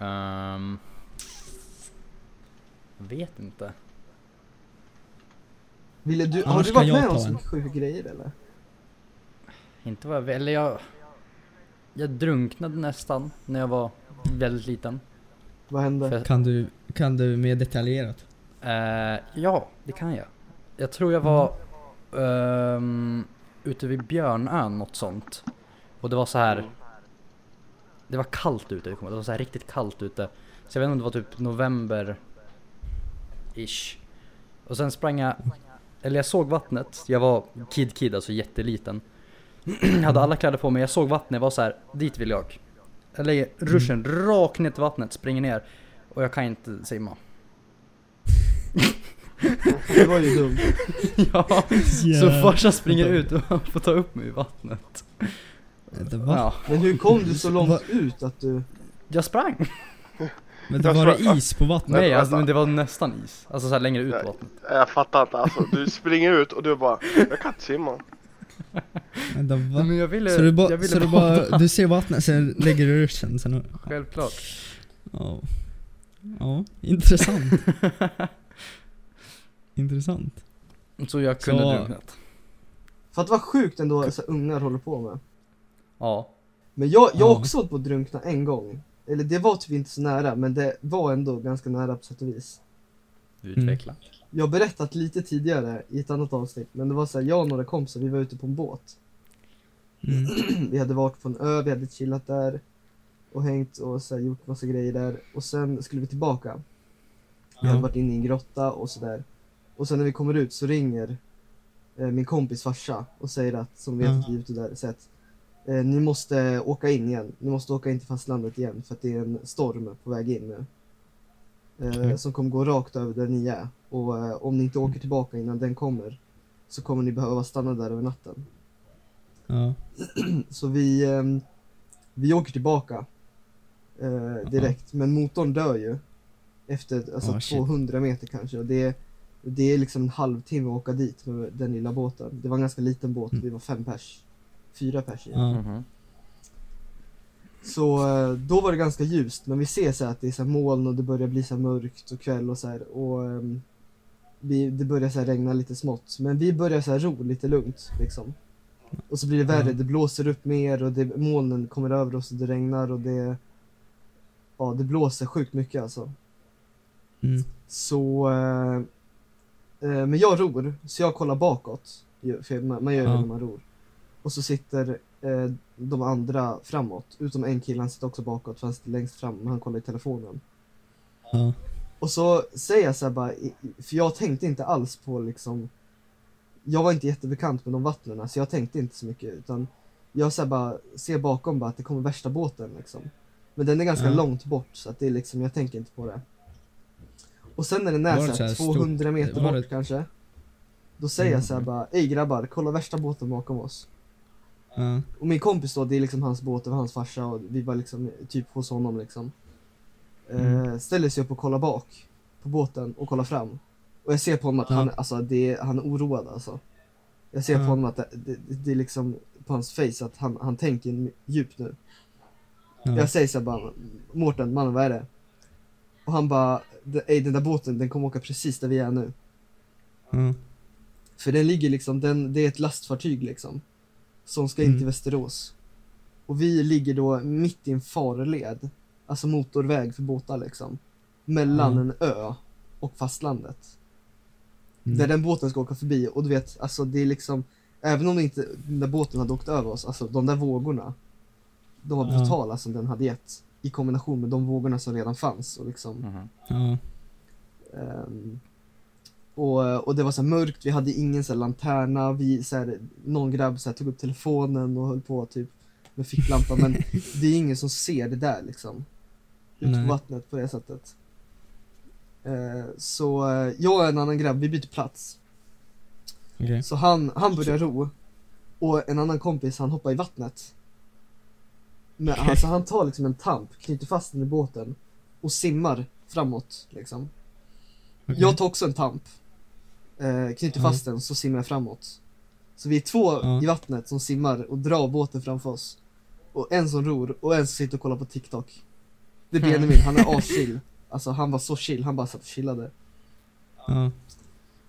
S3: Ehm. vet inte.
S5: Ville du, har
S1: Annars
S5: du
S1: kan
S5: varit
S1: jag
S5: med
S1: ta
S5: om så
S1: en.
S5: mycket sjuka grejer eller?
S3: Inte vad jag vet. Eller jag... Jag drunknade nästan när jag var väldigt liten.
S5: Vad hände?
S3: För-
S1: Kan du, kan du mer detaljerat?
S3: Eh, ja, det kan jag. Jag tror jag var ehm, ute vid Björnön, något sånt. Och det var så här. Det var kallt ute, jag kommer ihåg. det var så här riktigt kallt ute. Så jag vet inte om det var typ november... Ish. Och sen sprang jag... Eller jag såg vattnet. Jag var kid kid, alltså jätteliten. jag hade alla kläder på mig, jag såg vattnet, jag var så här, dit vill jag. Jag lägger ruschen rakt ner till vattnet, springer ner. Och jag kan inte simma.
S5: Det var ju dumt.
S3: ja. Så farsan springer ut och han får ta upp mig i vattnet.
S1: Vänta, va?
S3: Ja.
S5: Men hur kom du så
S1: Va-
S5: långt ut att du...
S3: Jag sprang!
S1: Vänta,
S2: Jag
S1: var
S2: tror-
S1: det is på vattnet?
S3: Nej alltså, men det var nästan is. Alltså såhär längre ut på
S2: Nej.
S3: vattnet.
S2: Nej, Jag fattar inte alltså. Du springer ut och du bara, jag kan inte simma.
S1: Vänta, va?
S3: Men jag ville,
S1: Så du
S3: jag
S1: bara,
S3: ville
S1: så du bara, du ser vattnet sen lägger du ruschen sen och-
S3: Självklart.
S1: Ja. Ja, intressant. intressant.
S3: Så jag kunde
S1: Så-
S3: drunknat.
S5: För att det var sjukt ändå så här ungar håller på med.
S3: Ja.
S5: Men jag, jag
S1: Ja.
S5: har också hållit på att drunkna en gång. Eller det var typ inte så nära, men det var ändå ganska nära på sätt och vis.
S3: Utveckla.
S1: Mm.
S5: Jag har berättat lite tidigare i ett annat avsnitt, men det var så här, jag och några kompisar, vi var ute på en båt.
S1: Mm.
S5: Vi hade varit på en ö, vi hade chillat där och hängt och så här, gjort massa grejer där. Och sen skulle vi tillbaka. Vi hade
S1: Ja.
S5: varit inne i en grotta och sådär. Och sen när vi kommer ut så ringer eh, min kompis farsa och säger att, som vet
S1: Ja.
S5: att vi är ute där, så att eh, ni måste åka in igen. Ni måste åka in till fastlandet igen för att det är en storm på väg in nu. Eh,
S1: Okej.
S5: Som kommer gå rakt över där ni är. Och eh, om ni inte åker tillbaka innan den kommer så kommer ni behöva stanna där över natten.
S1: Ja.
S5: Så vi, ehm, vi åker tillbaka eh, direkt, men motorn dör ju. Efter alltså,
S1: Ah, shit.
S5: 200 meter kanske. Och det, det är liksom en halvtimme att åka dit med den lilla båten. Det var en ganska liten båt,
S1: Mm. Ah,
S5: vi var fem pers. Fyra pers i den.
S1: ja.
S3: Mhm.
S5: Så eh, då var det ganska ljust, men vi ser så här att det är så här moln och det börjar bli så här mörkt och kväll och så här. Och, ehm, vi, det börjar så här regna lite smått, men vi börjar så här ro lite lugnt liksom. Och så blir det värre,
S1: Ja.
S5: det blåser upp mer och det, molnen kommer över oss och det regnar och det... Ja, det blåser sjukt mycket alltså.
S1: Mm.
S5: Så... Eh, eh, men jag ror, så jag kollar bakåt. ju, För man, man gör ju det
S1: Ja.
S5: när man ror. Och så sitter eh, de andra framåt. Utom en kille, han sitter också bakåt för han sitter längst fram, men han kollar i telefonen.
S1: Ja.
S5: Och så säger jag så här bara, i- i- för jag tänkte inte alls på liksom Jag var inte jättebekant med de vattnen, så jag tänkte inte så mycket utan Jag så här bara, ser bakom bara att det kommer värsta båten liksom Men den är ganska
S1: Ja.
S5: långt bort så att det är liksom, jag tänker inte på det Och sen när den är
S1: Var det
S5: så
S1: så
S5: här
S1: här
S5: 200 meter
S1: var
S5: bort
S1: det- Mm.
S5: kanske Då säger jag så här bara, ey grabbar, kolla värsta båten bakom oss
S1: Ja.
S5: och min kompis då, det är liksom hans båt, det var hans farsa och vi var liksom typ hos honom liksom. Eh,
S1: Mm.
S5: ställer sig upp och kollar bak på båten och kollar fram. Och jag ser på honom att
S1: Ja.
S5: han, alltså, det, är- han är oroad alltså. Jag ser
S1: Ja.
S5: på honom att det, det, det är liksom på hans face att han, han tänker djupt nu.
S1: Ja.
S5: Jag säger så här bara, Mårten, mannen vad är det? Och han bara, "D- ey den där båten den kommer åka precis där vi är nu.
S1: Ja. Mm.
S5: För den ligger liksom, den, det är ett lastfartyg liksom. Som ska in
S1: Mm.
S5: till Västerås. Och vi ligger då mitt i en farled. Alltså motorväg för båtar liksom. Mellan
S1: Ja.
S5: en ö och fastlandet
S1: Mm.
S5: där den båten ska åka förbi och du vet, alltså det är liksom Även om inte den där båten hade åkt över oss, alltså de där vågorna De var
S1: Ja.
S5: brutala som den hade gett I kombination med de vågorna som redan fanns och liksom
S3: Mhm.
S1: Ja.
S5: ehm, och, och det var så här mörkt, vi hade ingen så här lanterna, vi så här, Någon grabb så här, tog upp telefonen och höll på typ Med ficklampan men det är ingen som ser det där liksom Ut
S1: Nej.
S5: på vattnet på det sättet Eh, Så eh, jag och en annan grabb, vi byter plats
S1: Okej.
S5: så han, han börjar ro och en annan kompis han hoppar i vattnet. Men alltså han tar liksom en tamp, knyter fast den i båten och simmar framåt liksom.
S1: Okej.
S5: Jag tar också en tamp, eh, knyter
S1: Ja.
S5: fast den så simmar jag framåt. Så vi är två
S1: Ja.
S5: i vattnet som simmar och drar båten framför oss. Och en som ror och en som sitter och kollar på TikTok. Det är
S1: Hmm.
S5: Benjamin, han är aschill. Alltså han var så chill, han bara satt och chillade.
S1: Ja.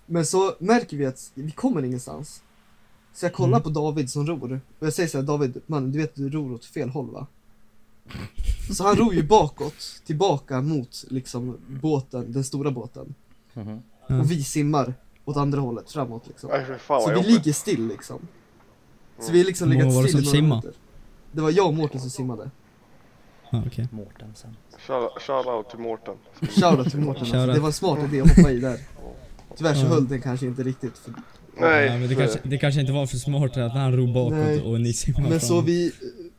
S5: Men så märker vi att vi kommer ingenstans. Så jag kollar
S1: Mm.
S5: på David som ror. Och jag säger så här, David, man, du vet du ror åt fel håll va? Så han ror ju bakåt, tillbaka mot liksom båten, den stora båten.
S3: Mhm.
S1: Mm.
S5: Och vi simmar åt andra hållet, framåt liksom.
S2: Nej för fan
S5: Så
S2: vad
S5: vi
S2: jobbigt.
S5: ligger still liksom. Så
S2: Mm.
S5: vi har liksom
S1: Hur många
S5: legat
S1: var det
S5: still
S1: som
S5: i några
S1: simmade?
S5: minuter. Det var jag och Mårten som simmade.
S1: Ja, okej.
S3: Mårtensen.
S2: Shout- Shoutout till Mårten.
S5: Shoutout till Mårten alltså.
S1: Shoutout.
S5: Det var en smart idé att hoppa i där. Tyvärr så
S1: Mm.
S5: höll den kanske inte riktigt. För...
S2: Nej,
S1: Ja, men det,
S2: för-
S1: kanske, det kanske inte var för smart att han ror bakåt
S5: Nej.
S1: och ni simmar
S5: Men så
S1: fram.
S5: vi,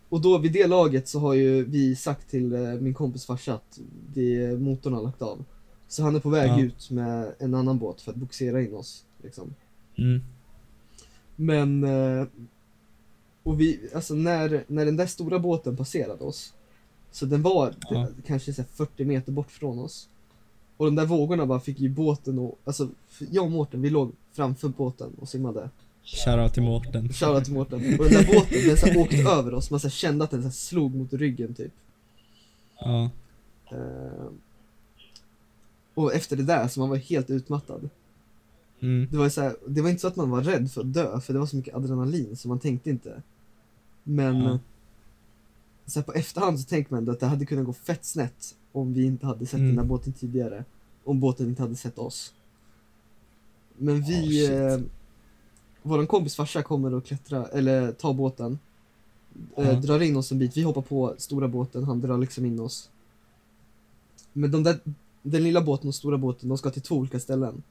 S5: och då vid det laget så har ju vi sagt till eh, min kompis farsa att det, motorn har lagt av. Så han är på väg
S1: Ja.
S5: ut med en annan båt för att boxera in oss. Liksom.
S1: Mm.
S5: Men, eh, och vi, alltså när, när den där stora båten passerade oss, så den var
S1: Ja.
S5: eh, kanske så här 40 meter bort från oss. Och de där vågorna bara fick ju båten och, alltså f- jag och Mårten vi låg framför båten och simmade.
S1: Shoutout till Mårten.
S5: Shoutout till Mårten. Och den där båten, den så här åkte över oss, man så här kände att den så här slog mot ryggen typ.
S1: Ja.
S5: Eh, Och efter det där så man var helt utmattad.
S1: Mm.
S5: Det var, så här, det var inte så att man var rädd för att dö, för det var så mycket adrenalin så man tänkte inte. Men
S1: Ja.
S5: så här, på efterhand så tänker man ändå att det hade kunnat gå fett snett om vi inte hade sett
S1: Mm.
S5: den där båten tidigare. Om båten inte hade sett oss. Men vi...
S1: Oh, shit.
S5: eh, vår kompis farsa kommer och klättra, eller tar båten. Eh,
S1: Ja.
S5: drar in oss en bit, vi hoppar på stora båten, han drar liksom in oss. Men de där, den lilla båten och stora båten, de ska till två olika ställen.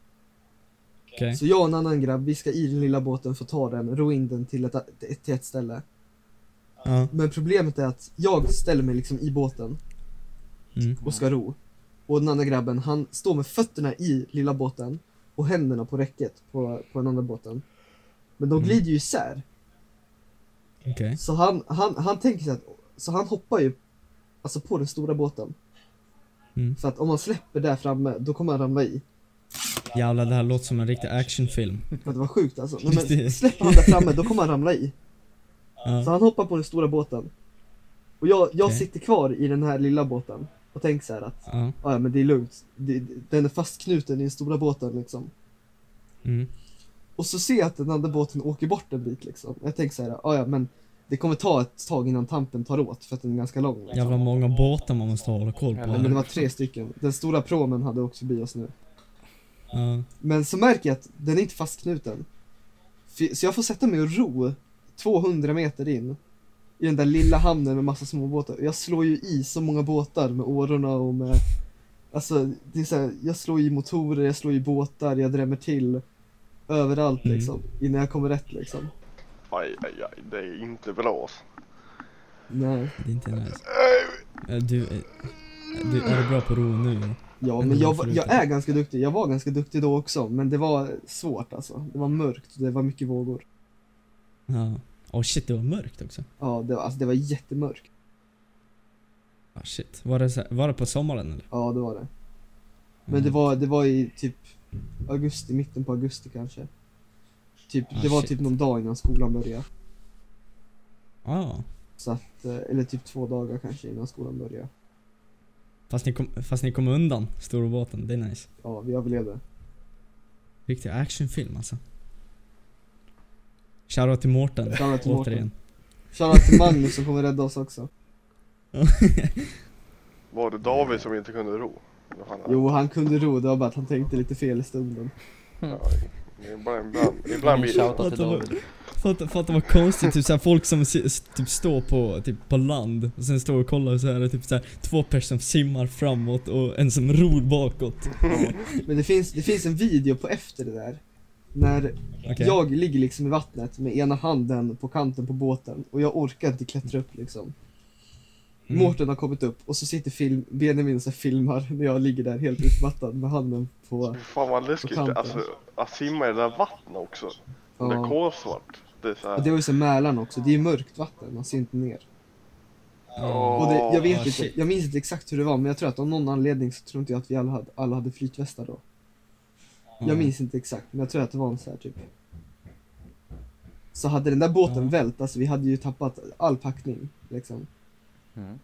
S1: Okej.
S5: Så jag och en annan grabb, vi ska i den lilla båten, få ta den, ro in den till ett, till ett ställe.
S1: Ja.
S5: Men problemet är att jag ställer mig liksom i båten
S1: Mm.
S5: och ska ro. Och den andra grabben, han står med fötterna i lilla båten och händerna på räcket på, på den andra båten. Men de
S1: Mm.
S5: glider ju isär,
S1: Okej.
S5: så han, han, han tänker sig att, så han hoppar ju alltså på den stora båten.
S1: Mm.
S5: För att om han släpper där framme, då kommer han ramla i.
S1: Jävlar det här låter som en riktig actionfilm.
S5: För att det var sjukt alltså. Nej, men
S1: Riktigt.
S5: släpper han där framme, då kommer han ramla i. Så
S1: Ja.
S5: han hoppar på den stora båten. Och jag, jag
S1: Okej.
S5: sitter kvar i den här lilla båten och tänker så här att,
S1: Ja.
S5: "Ah, ja men det är lugnt. Det, den är fastknuten i den stora båten liksom.
S1: Mm.
S5: Och så ser jag att den andra båten åker bort en bit liksom. Jag tänker så här, "Ah, ja men det kommer ta ett tag innan tampen tar åt för att den är ganska lång. Liksom.
S1: Jävla många båtar man måste hålla koll på.
S3: Ja,
S5: Nej, men det var
S1: här.
S5: tre stycken. Den stora promen hade åkt förbi oss nu.
S1: Ja.
S5: Men så märker jag att den är inte fastknuten. Fy- Så jag får sätta mig och ro 200 meter in i den där lilla hamnen med massa småbåtar. Och Jag slår ju i så många båtar med årorna och med... Alltså, det är så här, jag slår i motorer, jag slår i båtar, jag drämmer till överallt
S1: Mm.
S5: liksom. Innan jag kommer rätt liksom.
S2: Aj, aj, aj, det är inte bra alltså.
S5: Nej.
S1: Det är inte nice. Eh, Du, eh, du, är du bra på att ro nu?
S5: Ja,
S1: Eller
S5: men jag,
S1: varför
S5: var-
S1: du
S5: jag
S1: inte?
S5: är ganska duktig. Jag var ganska duktig då också, men det var svårt alltså. Det var mörkt och det var mycket vågor.
S1: Ja. Åh shit, det var mörkt också.
S5: Ja, det var, alltså, det var jättemörkt.
S1: Ah, shit. Var det, så här, var det på sommaren eller?
S5: Ja, det var det.
S1: Mm.
S5: Men det var, det var i typ augusti, mitten på augusti kanske. Typ,
S1: Ah,
S5: det var
S1: shit.
S5: typ någon dag innan skolan började.
S1: Ja.
S5: Så att, eh, eller typ två dagar kanske innan skolan började.
S1: Fast ni, kom, fast ni kom undan stora båten, det är nice.
S5: Ja, vi överlevde.
S1: Riktig actionfilm alltså. Shoutout till Mårten,
S5: Shoutout till Mårten.
S1: återigen.
S5: Shoutout till Magnus som kommer rädda oss också.
S2: Var det David som inte kunde ro? Vad fan är det?
S5: Jo, han kunde ro, det var bara att han tänkte lite fel i stunden.
S2: Ja, ibland, ibland, ibland blir det så.
S3: Shoutout till David.
S1: Fatta, fatta vad konstigt, typ såhär folk som si- s- typ står på, typ på land och sen står och kollar och så är det typ såhär två personer som simmar framåt och en som ror bakåt.
S5: Men det finns, det finns en video på efter det där. När
S1: Okej.
S5: jag ligger liksom i vattnet med ena handen på kanten på båten och jag orkar inte klättra upp liksom.
S1: Mm.
S5: Mårten har kommit upp och så sitter film, Benjamin och så här filmar när jag ligger där helt utmattad med handen på...
S2: Fan vad läskigt. Alltså, att simma i det där vattnet också. Det är
S5: Ja.
S2: kolsvart. Det är så
S5: Och det
S2: här.
S5: var ju så här Mälaren också, det är ju mörkt vatten, man ser inte ner.
S1: Ja.
S5: Och det, jag vet
S1: Ah,
S5: inte,
S1: shit.
S5: jag minns inte exakt hur det var men jag tror att av någon anledning så tror inte jag att vi alla hade, alla hade flytvästar då.
S1: Mm.
S5: Jag minns inte exakt, men jag tror att det var en så här typ. Så hade den där båten
S1: Ja.
S5: vält, alltså vi hade ju tappat all packning liksom.
S3: Mm.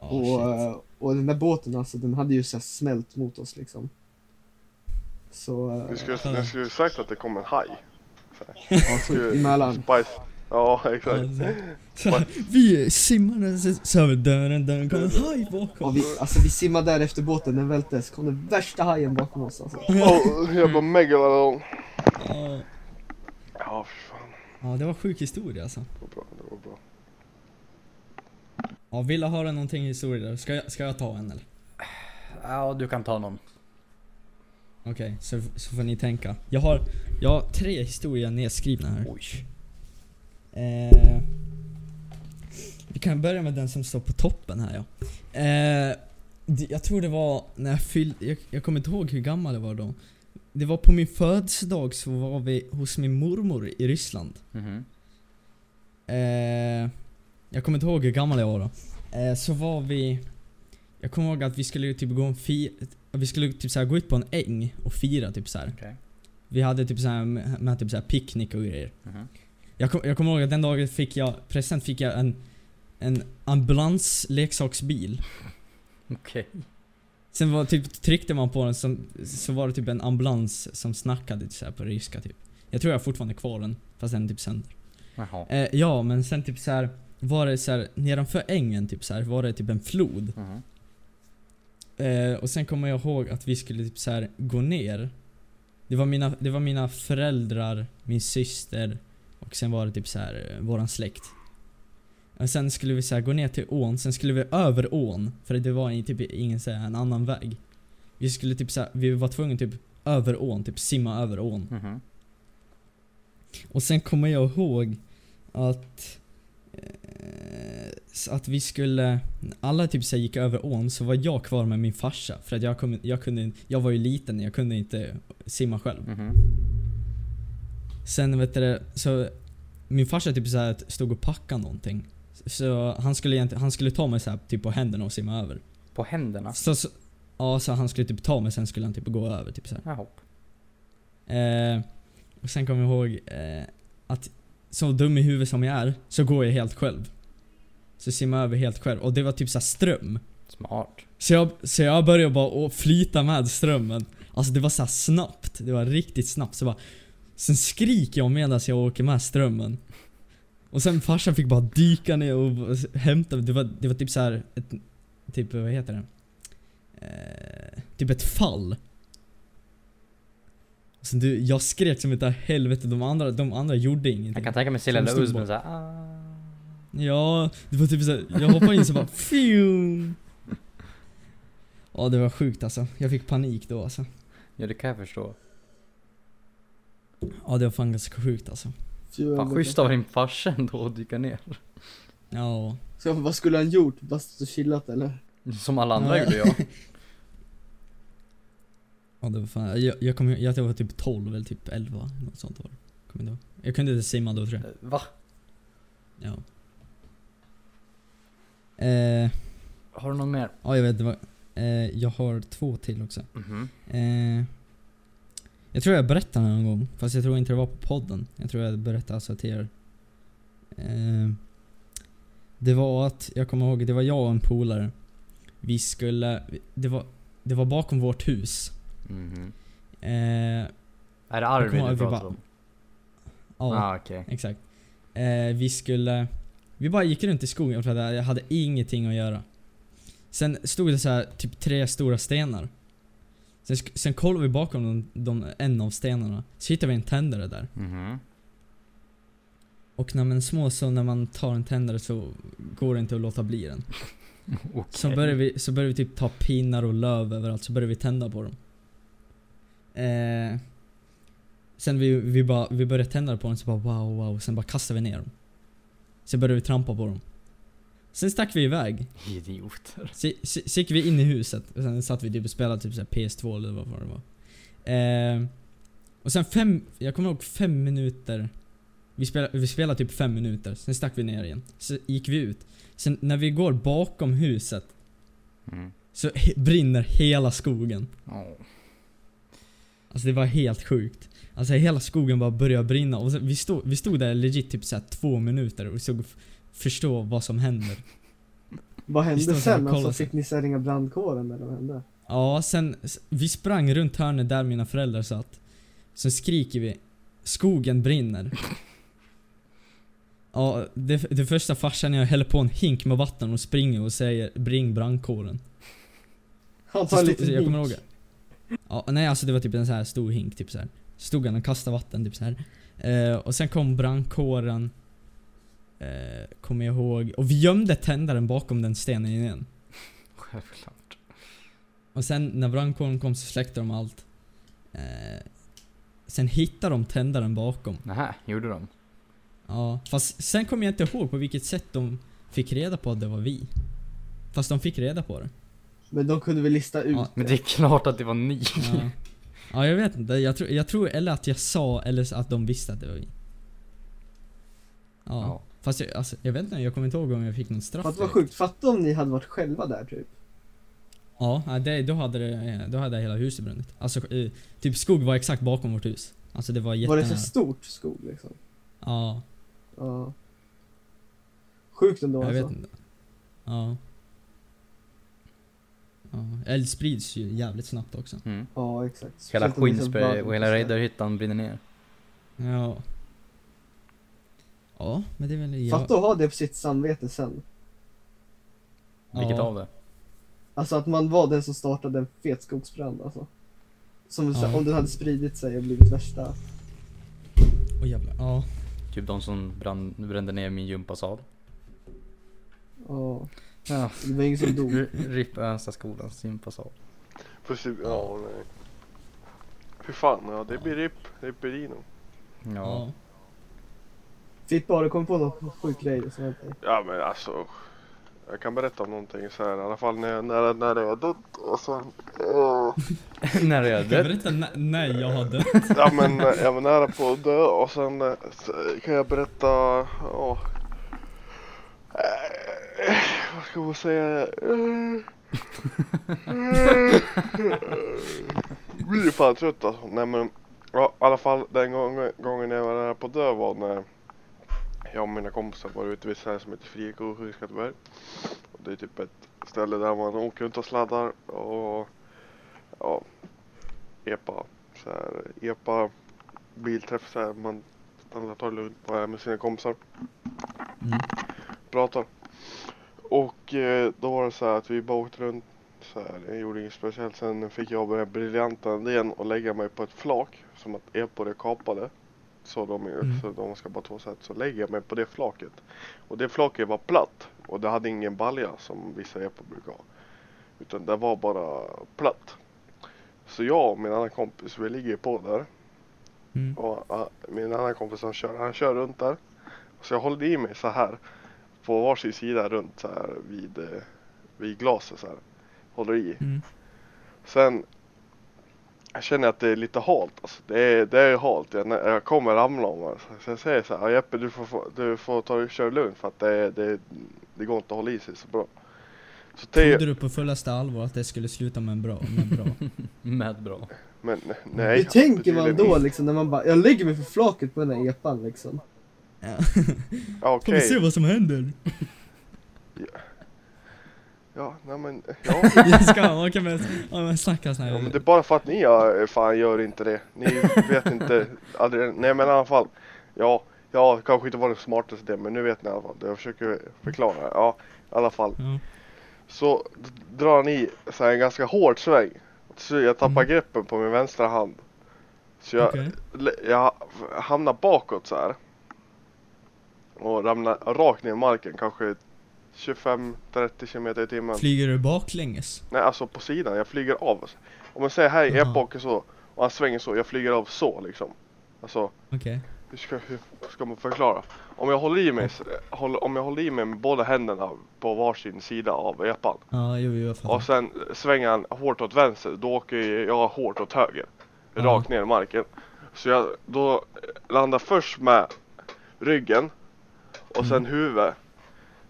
S1: Ah,
S5: och,
S1: shit.
S5: eh, och den där båten alltså, den hade ju så här smält mot oss liksom. Så, eh,
S2: Du skulle, du skulle sagt att det kom en haj.
S5: ja, sjukt, i Mälaren.
S2: Spice. Ja, exakt.
S1: Alltså, så här, vi simmade så- så över dörren, dörren kom en haj
S5: Ja,
S1: bakom.
S5: vi, alltså vi simmade där efter båten, den välte, så kom den värsta hajen bakom oss alltså.
S2: Oh, jävla megalodon.
S1: Ja,
S2: Ja, fy fan.
S1: ja, det var sjuk historia alltså.
S2: Det var bra. Det var bra.
S1: Ja, vill jag höra någonting i historia där? Ska jag, ska jag ta en eller?
S3: Ja, du kan ta någon.
S1: Okej, så, så får ni tänka. Jag har, jag har tre historier nedskrivna här.
S3: Oj.
S1: Eh, vi kan börja med den som står på toppen här ja. Eh, det, jag tror det var när jag fyllde, jag, jag kommer inte ihåg hur gammal jag var då. Det var på min födelsedag så var vi hos min mormor i Ryssland.
S3: Mhm.
S1: Eh, jag kommer inte ihåg hur gammal jag var då. Eh, så var vi... Jag kommer ihåg att vi skulle typ gå en fi, Vi skulle typ så här gå ut på en äng och fira typ så här.
S3: Okej.
S1: Vi hade typ så här med, med typ så här picknick och grejer.
S3: Mhm.
S1: Jag, kom, jag kommer ihåg att den dagen fick jag, present fick jag en, en ambulansleksaksbil.
S3: Okej.
S1: Sen var typ, tryckte man på den som, så var det typ en ambulans som snackade så här på ryska typ. Jag tror jag har fortfarande kvar den, fast den är typ sönder.
S3: Jaha.
S1: Eh, ja, men sen typ så här var det så här nedanför ängen typ så här var det typ en flod.
S3: Mhm.
S1: Eh, och sen kommer jag ihåg att vi skulle typ så här gå ner. Det var mina, det var mina föräldrar, min syster och sen var det typ så här eh, våran släkt. Och sen skulle vi så här gå ner till ån, sen skulle vi över ån för det var i- typ ingen så här, en annan väg. Vi skulle typ så här, vi var tvungna typ över ån, typ simma över ån.
S3: Mhm.
S1: Och sen kommer jag ihåg att eh, s- att vi skulle, alla typ så här gick över ån så var jag kvar med min farsa för att jag, kom, jag kunde, jag var ju liten jag kunde inte simma själv.
S3: Mhm.
S1: Sen vet du det, så min farsa typ så här stod och packade någonting. Så han skulle, egent- han skulle ta mig så här typ på händerna och simma över.
S3: På händerna?
S1: Så, så, ja, så han skulle typ ta mig sen skulle han typ gå över typ så här.
S3: Jaha.
S1: Eh, och sen kommer jag ihåg eh, att så dum i huvudet som jag är, så går jag helt själv. Så simmar jag över helt själv. Och det var typ så här ström.
S3: Smart.
S1: Så jag, så jag började bara å- flyta med strömmen. Alltså det var så här snabbt. Det var riktigt snabbt. Så bara, sen skriker jag medan jag åker med strömmen. Och sen farsan fick bara dyka ner och b- hämta Det var, det var typ så här ett, typ vad heter det? Eh, typ ett fall. Sen du, jag skrek som ett helvete. De andra, de andra gjorde ingenting.
S3: Jag kan tänka mig se
S1: Som
S3: lilla
S1: stod
S3: Usman
S1: bak-
S3: såhär ah.
S1: Ja, det var typ såhär, jag hoppade in så bara fju. Ja det var sjukt alltså, jag fick panik då alltså.
S3: Ja det kan jag förstå.
S1: Ja det var fan ganska sjukt alltså.
S3: Fan schysst av din farsa ändå att dyka ner.
S1: Ja.
S5: Så vad skulle han gjort? Bara stått och chillat eller?
S3: Som alla andra
S1: Ja.
S3: gjorde jag.
S1: Ja det var fan, jag, jag kommer ihåg att jag var typ 12 eller typ 11, något sånt var det. Kommer inte ihåg. Jag kunde inte simma då tror jag.
S3: Va?
S1: Ja. Eh,
S3: Har du någon mer?
S1: ja jag vet det var, eh, jag har två till också.
S3: Mhm.
S1: Eh, jag tror jag berättade någon gång, fast jag tror inte det var på podden. Jag tror jag berättade alltså till er. Eh, det var att, jag kommer ihåg, det var jag och en polare. Vi skulle, det var, det var bakom vårt hus.
S3: Mhm.
S1: Eh,
S3: Är det
S1: Jag kommer
S3: Arvid du
S1: ihåg vi
S3: pratar
S1: bara-
S3: om?
S1: ja,
S3: Ah, okej.
S1: exakt. Eh, vi skulle, vi bara gick runt i skogen för att jag hade ingenting att göra. Sen stod det så här typ tre stora stenar. Sen, sk- sen kollade vi bakom de, de, en av stenarna, så hittade vi en tändare där.
S3: Mhm.
S1: Och när man är små så när man tar en tändare så går det inte att låta bli den.
S3: Okej.
S1: Så börjar vi, så börjar vi typ ta pinnar och löv överallt, så börjar vi tända på dem. Eh, sen vi, vi, bara, vi börjar tända på dem, så bara wow wow, sen bara kastar vi ner dem. Sen börjar vi trampa på dem. Sen stack vi iväg.
S3: Idioter.
S1: Så, så, så gick vi in i huset, och sen satt vi typ och spelade typ så här PS2 eller vad fan det var. Eh, och sen fem, jag kommer ihåg fem minuter. Vi spelade, vi spelade typ fem minuter, sen stack vi ner igen. Så gick vi ut. Sen när vi går bakom huset
S3: Mm.
S1: så he- brinner hela skogen.
S3: Ja.
S1: Alltså det var helt sjukt. Alltså hela skogen bara började brinna och så, vi, stod, vi stod där legit typ såhär två minuter och såg f- förstå vad som händer.
S5: Vad
S1: Visst, de
S5: hände
S1: ska
S5: sen?
S1: kolla
S5: Alltså,
S1: sen.
S5: fick ni sen ringa brandkåren eller vad hände?
S1: Ja, sen s- vi sprang runt hörnet där mina föräldrar satt. Sen skriker vi Skogen brinner. Ja, det, det första farsan jag häller på en hink med vatten och springer och säger Bring brandkåren.
S5: Han
S1: Så
S5: tar en
S1: stod,
S5: liten
S1: jag kommer
S5: hink.
S1: ihåg Ja, nej alltså det var typ en så här stor hink typ så här. Stod han och kastade vatten typ så här. Eh, och sen kom brandkåren. Eh, kommer jag ihåg. Och vi gömde tändaren bakom den stenen igen.
S3: Självklart.
S1: Och sen när brandkåren kom så släckte de allt. Eh, sen hittade de tändaren bakom.
S3: Nähä, gjorde de?
S1: Ja, fast sen kommer jag inte ihåg på vilket sätt de fick reda på att det var vi. Fast de fick reda på det.
S5: Men de kunde väl lista ut
S1: Ja.
S3: Men det är klart att det var ni.
S1: Ja, ja jag vet inte. Jag tror, jag tror eller att jag sa eller så att de visste att det var vi. Ja.
S3: Ja.
S1: Fast jag, alltså, jag vet inte, jag kommer inte ihåg om jag fick någon straff.
S5: För att det var
S1: direkt.
S5: sjukt, fatta om ni hade varit själva där typ.
S1: Ja, nej, det, då, hade det, då hade hela huset brunnit. Alltså, eh, typ skog var exakt bakom vårt hus. Alltså det var
S5: Var
S1: jättenära.
S5: det så stort skog liksom?
S1: Ja,
S5: Ja. Sjukt ändå
S1: jag
S5: alltså.
S1: vet inte. Ja. Ja, eld sprids ju jävligt snabbt också.
S3: Mm.
S5: Ja exakt.
S3: Hela
S5: Speciellt om det är så
S3: Skinsberg
S5: varmt
S3: och hela
S5: så här.
S3: Reidarhyttan brinner ner.
S1: Ja. Ja, men det är väl... jag-
S5: Fatta att ha det på sitt samvete sen.
S3: Vilket
S1: Ja.
S3: av det?
S5: Alltså att man var den som startade en fet skogsbrand alltså. Som så här,
S1: Ja.
S5: om den hade spridit sig och blivit värsta.
S1: Åh jävlar. Ja.
S3: Typ de som brann, brände ner min gympasal.
S5: Ja.
S3: Ja.
S5: Det var ingen som dog.
S3: RIP Önstaskolans gympasal.
S2: Fast, det- ja, nej. Fy fan, ja det blir RIP, det blir Dino.
S3: Ja.
S1: ja.
S5: Fippa, har du kommit på någon sjuk grej som hänt dig?
S2: Ja men alltså. Jag kan berätta om någonting så här i alla fall när, när, när det är dött och sen... åh.
S3: När är
S1: Kan jag
S3: det?
S1: berätta när- när jag har dött?
S2: Ja men eh, jag var nära på att dö och sen eh, så kan jag berätta, ja. Eh, Vad ska man säga? Eh, eh, Blir fan trött alltså. Nej men, ja, i alla fall den gången, gången jag var nära på att dö var när jag och mina kompisar var ute vid ett ställe som heter Friko i Skinnskatteberg. Och Det är typ ett ställe där man åker runt och sladdar och ja, epa så här, epa bilträff så här, man alla tar det lugnt bara är med sina kompisar.
S1: Mm.
S2: Pratar. Och eh, då var det så här att vi bara åkte runt så här, jag gjorde inget speciellt. Sen fick jag den briljanta idén att lägga mig på ett flak som att epor är kapade. Så de,
S1: Mm.
S2: så de ska bara två sätt, så lägger jag mig på det flaket. Och det flaket var platt och det hade ingen balja som vissa epor brukar ha. Utan det var bara platt. Så jag och min annan kompis, vi ligger på där.
S1: Mm.
S2: Och ja, min annan kompis han kör, han kör runt där. Så jag håller i mig så här på varsin sida runt så här vid, eh, vid glaset så här. Håller i.
S1: Mm.
S2: Sen jag känner att det är lite halt alltså. Det är, det är halt. Jag, jag kommer ramla om alltså. Så jag säger så här, "Ja, Jeppe du får, få- du får ta, köra lugnt för att det, det, det går inte att hålla i sig så bra. Så Theo,
S1: Trodde du på fullaste allvar att det skulle sluta med en bra, med en bra?
S3: Med bra.
S2: men nej.
S5: Hur tänker man
S2: tydligen
S5: då
S2: inte.
S5: liksom när man bara, jag lägger mig för flaket på den här epan liksom.
S2: Ja, Okej.
S1: vad som händer?
S2: Ja, nej men, ja.
S1: Jag ska, man kan väl ja, men snacka sån här.
S2: ja men det är bara för att ni ja, fan gör inte det. Ni vet inte, aldrig, nej men i alla fall. Ja, ja, kanske inte var den smartaste det, men nu vet ni i alla fall. Jag försöker förklara. Ja, i alla fall.
S1: Ja.
S2: Så d- drar ni så här en ganska hård sväng. Så jag tappar
S1: Mm.
S2: greppen på min vänstra hand. Så jag,
S1: Okej.
S2: l- jag hamnar bakåt så här. Och ramlar rakt ner i marken, kanske 25-30 km i timmen.
S1: Flyger du baklänges?
S2: Nej, alltså på sidan. Jag flyger av. Om man säger här i
S1: Jaha.
S2: epoken så, och han svänger så, jag flyger av så liksom. Alltså,
S1: Okej.
S2: hur ska, hur ska man förklara? Om jag håller i mig, s- håll, om jag håller i mig med båda händerna på varsin sida av epan.
S1: Ja, jo, jo, jag
S2: Och
S1: fattar.
S2: sen svänger han hårt åt vänster, då åker jag hårt åt höger.
S1: Ja.
S2: Rakt ner i marken. Så jag då landar först med ryggen och sen huvudet.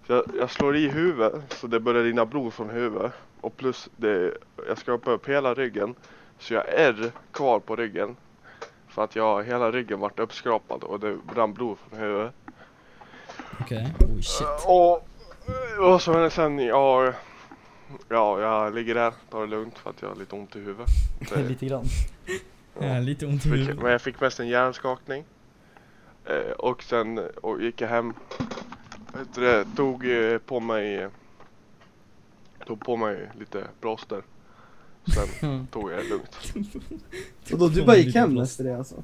S2: Så jag, jag slår i huvudet så det börjar rinna blod från huvudet. Och plus det, jag skrapar upp hela ryggen. Så jag är kvar på ryggen. För att jag, hela ryggen vart uppskrapad och det rann blod från huvudet.
S1: Okej. Oh shit.
S2: Eh, Och, eh, och så är det sen, ja, ja, jag ligger där, tar det lugnt för att jag har lite ont i huvudet. Det,
S3: Lite grann.
S1: Ja, lite ont i
S2: fick,
S1: huvudet.
S2: men jag fick mest en hjärnskakning. Eh, och sen och gick jag hem, Vad heter det, tog eh, på mig, eh, tog på mig lite plåster. Sen
S3: Mm.
S1: Ja.
S2: tog jag det lugnt.
S5: Och då du bara gick hem efter det alltså?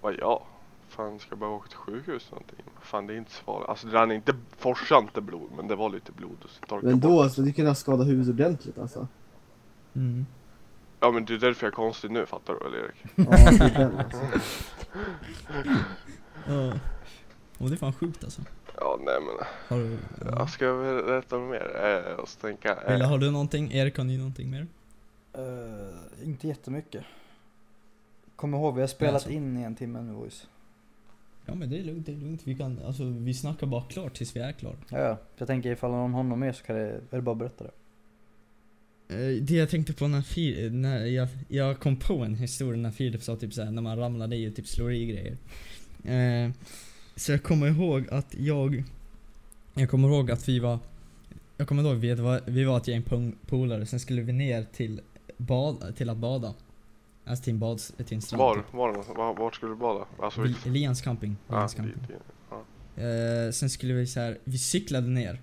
S2: Vad jag? Fan ska jag behöva åka till sjukhus eller någonting? Fan det är inte så farligt. Alltså det rann inte, forsade inte blod men det var lite blod. Och så torkade
S5: Men
S2: bort.
S5: då alltså, du kunde ha skadat huvudet ordentligt alltså?
S1: Mm.
S2: Ja men det är därför jag är konstig nu fattar du eller Erik?
S5: Ja, det är den, alltså.
S1: Ja. Och det är fan sjukt alltså.
S2: Ja nej men
S1: Har du,
S2: jag ska jag berätta mer? Eh, och så tänka, eh,
S1: Wille, har Mm. du någonting? Erik, har ni någonting mer?
S3: Eh, inte jättemycket. Kom ihåg, vi har spelat
S1: så.
S3: in i en timme nu boys.
S1: Ja men det är lugnt, det är lugnt. Vi kan, alltså vi snackar bara klart tills vi är klara.
S3: Ja, ja. Så jag tänker ifall någon har något mer så kan det, är det bara att berätta det.
S1: Eh, Det jag tänkte på när, Fi- när jag, jag kom på en historia när Filip sa typ såhär när man ramlar i och typ slår i grejer. Eh, så jag kommer ihåg att jag, jag kommer ihåg att vi var, jag kommer ihåg vi var, vi var ett gäng pong- polare, sen skulle vi ner till, bad, till att bada. Alltså till en, bad, till en strand.
S2: var,
S1: typ.
S2: var, någonstans? var, vart skulle du bada? Alltså ah,
S1: Vi-
S2: vilket...
S1: Lians camping.
S2: Ja,
S1: Lians
S2: dit,
S1: camping.
S2: dit.
S1: Eh, sen skulle vi så här, vi cyklade ner.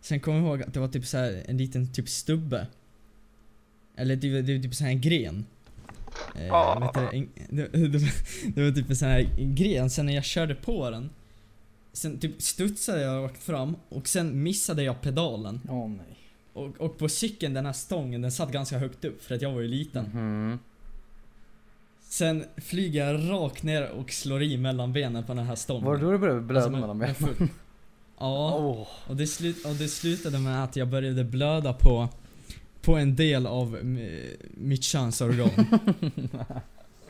S1: Sen kom jag ihåg att det var typ så här en liten typ stubbe. Eller det, var- det var typ så här en gren. Eh,
S2: Ah.
S1: vet du, en, det, det, var- det var typ en sån här gren, sen när jag körde på den Sen typ studsade jag rakt fram och sen missade jag pedalen.
S3: Åh nej.
S1: Och, och på cykeln, den här stången, den satt ganska högt upp för att jag var ju liten.
S3: Mhm.
S1: Sen flyger jag rakt ner och slår i mellan benen på den här stången.
S3: Var det då du började blöda
S1: Alltså, men-
S3: mellan
S1: men
S3: benen?
S1: full- Ja.
S3: Åh.
S1: Och det, slut, och det slutade med att jag började blöda på, på en del av m- mitt könsorgan.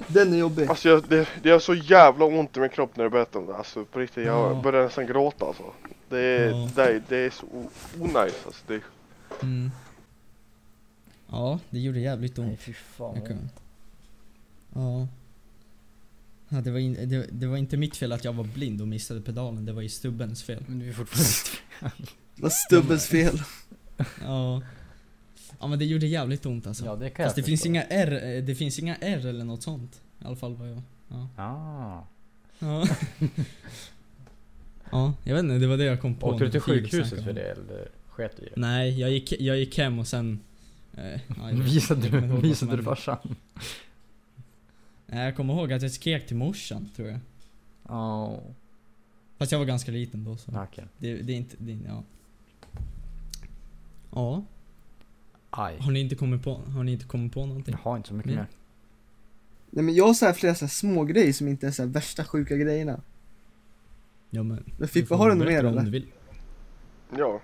S5: den är jobbig.
S2: Alltså jag, det, det gör så jävla ont i min kropp när du berättar om det. Alltså på riktigt, jag
S1: Ja.
S2: börjar nästan gråta alltså. Det är,
S1: Ja.
S2: det, är- det är så o- onajs alltså. Det,
S1: Mm. Ja, det gjorde jävligt
S3: Nej
S1: ont.
S3: fy fan.
S1: Jag kan- Ja. ja det, var in, det, det var inte mitt fel att jag var blind och missade pedalen, det var ju stubbens fel.
S3: Men du är fortfarande
S5: Det var stubbens fel.
S1: Ja. Ja men det gjorde jävligt ont alltså.
S3: Ja det kan
S1: Fast det
S3: jag
S1: finns
S3: förstå.
S1: inga R, eh, det finns inga R eller något sånt. I alla fall vad jag... Ja.
S3: Ah.
S1: Ja. ja, jag vet inte, det var det jag kom på.
S3: Åkte du
S1: när
S3: till
S1: Filip
S3: sjukhuset
S1: snackade
S3: för
S1: om
S3: det eller sket du i det?
S1: Nej, jag gick, jag gick hem och sen... Eh, ja, jag-
S3: Visade
S1: jag kommer ihåg
S3: du,
S1: vad som
S3: visade du
S1: hände.
S3: farsan?
S1: Nej, jag kommer ihåg att jag skrek till morsan, tror jag.
S3: Ja.
S1: Fast jag var ganska liten då så.
S3: Nej, Okej.
S1: Det, det är inte... Det, ja. Ja,
S3: Aj.
S1: har ni Mm. inte kommit på, har ni inte kommit på någonting?
S3: Jag har inte så mycket
S1: Nej.
S3: mer.
S5: Nej men jag har så här flera så här små grejer som inte är så här värsta sjuka grejerna.
S1: Ja men...
S5: Men
S1: du får
S5: Fippa, har du något
S1: berätta
S5: mer
S1: om du
S5: eller?
S1: vill.
S2: ja.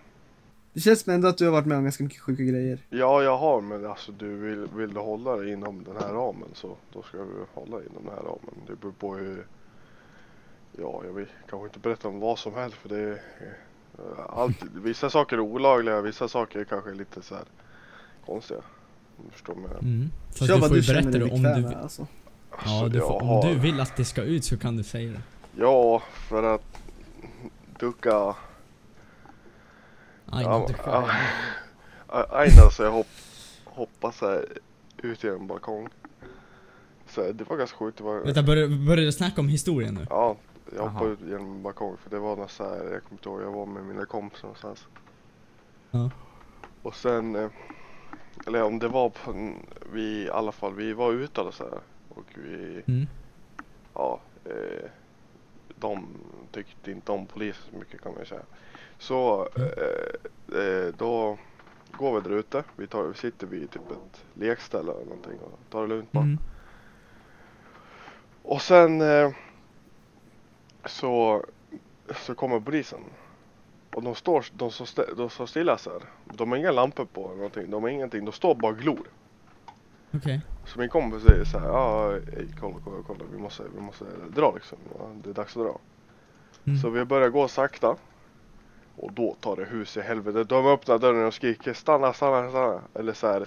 S5: Det känns som ändå att du har varit med om ganska mycket sjuka grejer.
S2: ja, jag har men alltså du vill, vill du hålla dig inom den här ramen så då ska vi hålla inom den här ramen. Det beror på hur... Ja, jag vill kanske inte berätta om vad som helst för det är... eh, Allt, vissa saker är olagliga, vissa saker är kanske lite så här konstiga. Om du förstår vad jag menar.
S1: Mm. Fast
S5: Kör
S1: du
S5: vad
S1: får
S5: du
S1: ju
S5: känner
S1: berätta
S5: dig
S1: det om
S5: bekväm
S1: du
S5: med
S1: vill.
S5: alltså.
S1: Ja,
S2: Alltså,
S1: du får,
S2: jag
S1: om
S2: har-
S1: du vill att det ska ut så kan du säga det.
S2: Ja, för att ducka...
S1: Aj,
S2: Ja,
S1: du,
S2: ja, A- Aina så jag hopp, hoppade så här, ut i en balkong. Så här, det var ganska sjukt. Det var,
S1: Vänta, börjar börjar du snacka om historien nu?
S2: ja, jag hoppade
S3: Aha.
S2: ut genom en balkong för det var något så här, jag kommer inte ihåg, jag var med mina kompisar någonstans.
S1: Ja.
S2: Och sen, eh, eller om det var på, vi i alla fall, vi var ute och så här. Och vi,
S1: Mm.
S2: ja, eh, de tyckte inte om polisen så mycket kan man ju säga. Så eh, eh, då går vi där ute. Vi, tar, vi sitter vid typ ett lekställe eller någonting och tar det lugnt bara.
S1: Mm.
S2: Och sen eh, så, så kommer polisen. Och de står, de står, stä- de står stilla så här. De har inga lampor på eller någonting. De har ingenting. De står bara och glor.
S1: Okej.
S2: Så min kompis säger så här, ja ey, kolla, kolla, kolla, vi måste, vi måste dra liksom. Ja, Det är dags att dra.
S1: Mm.
S2: Så vi börjar gå sakta. Och då tar det hus i helvete. De öppnar dörren och skriker stanna, stanna, stanna. Eller så här.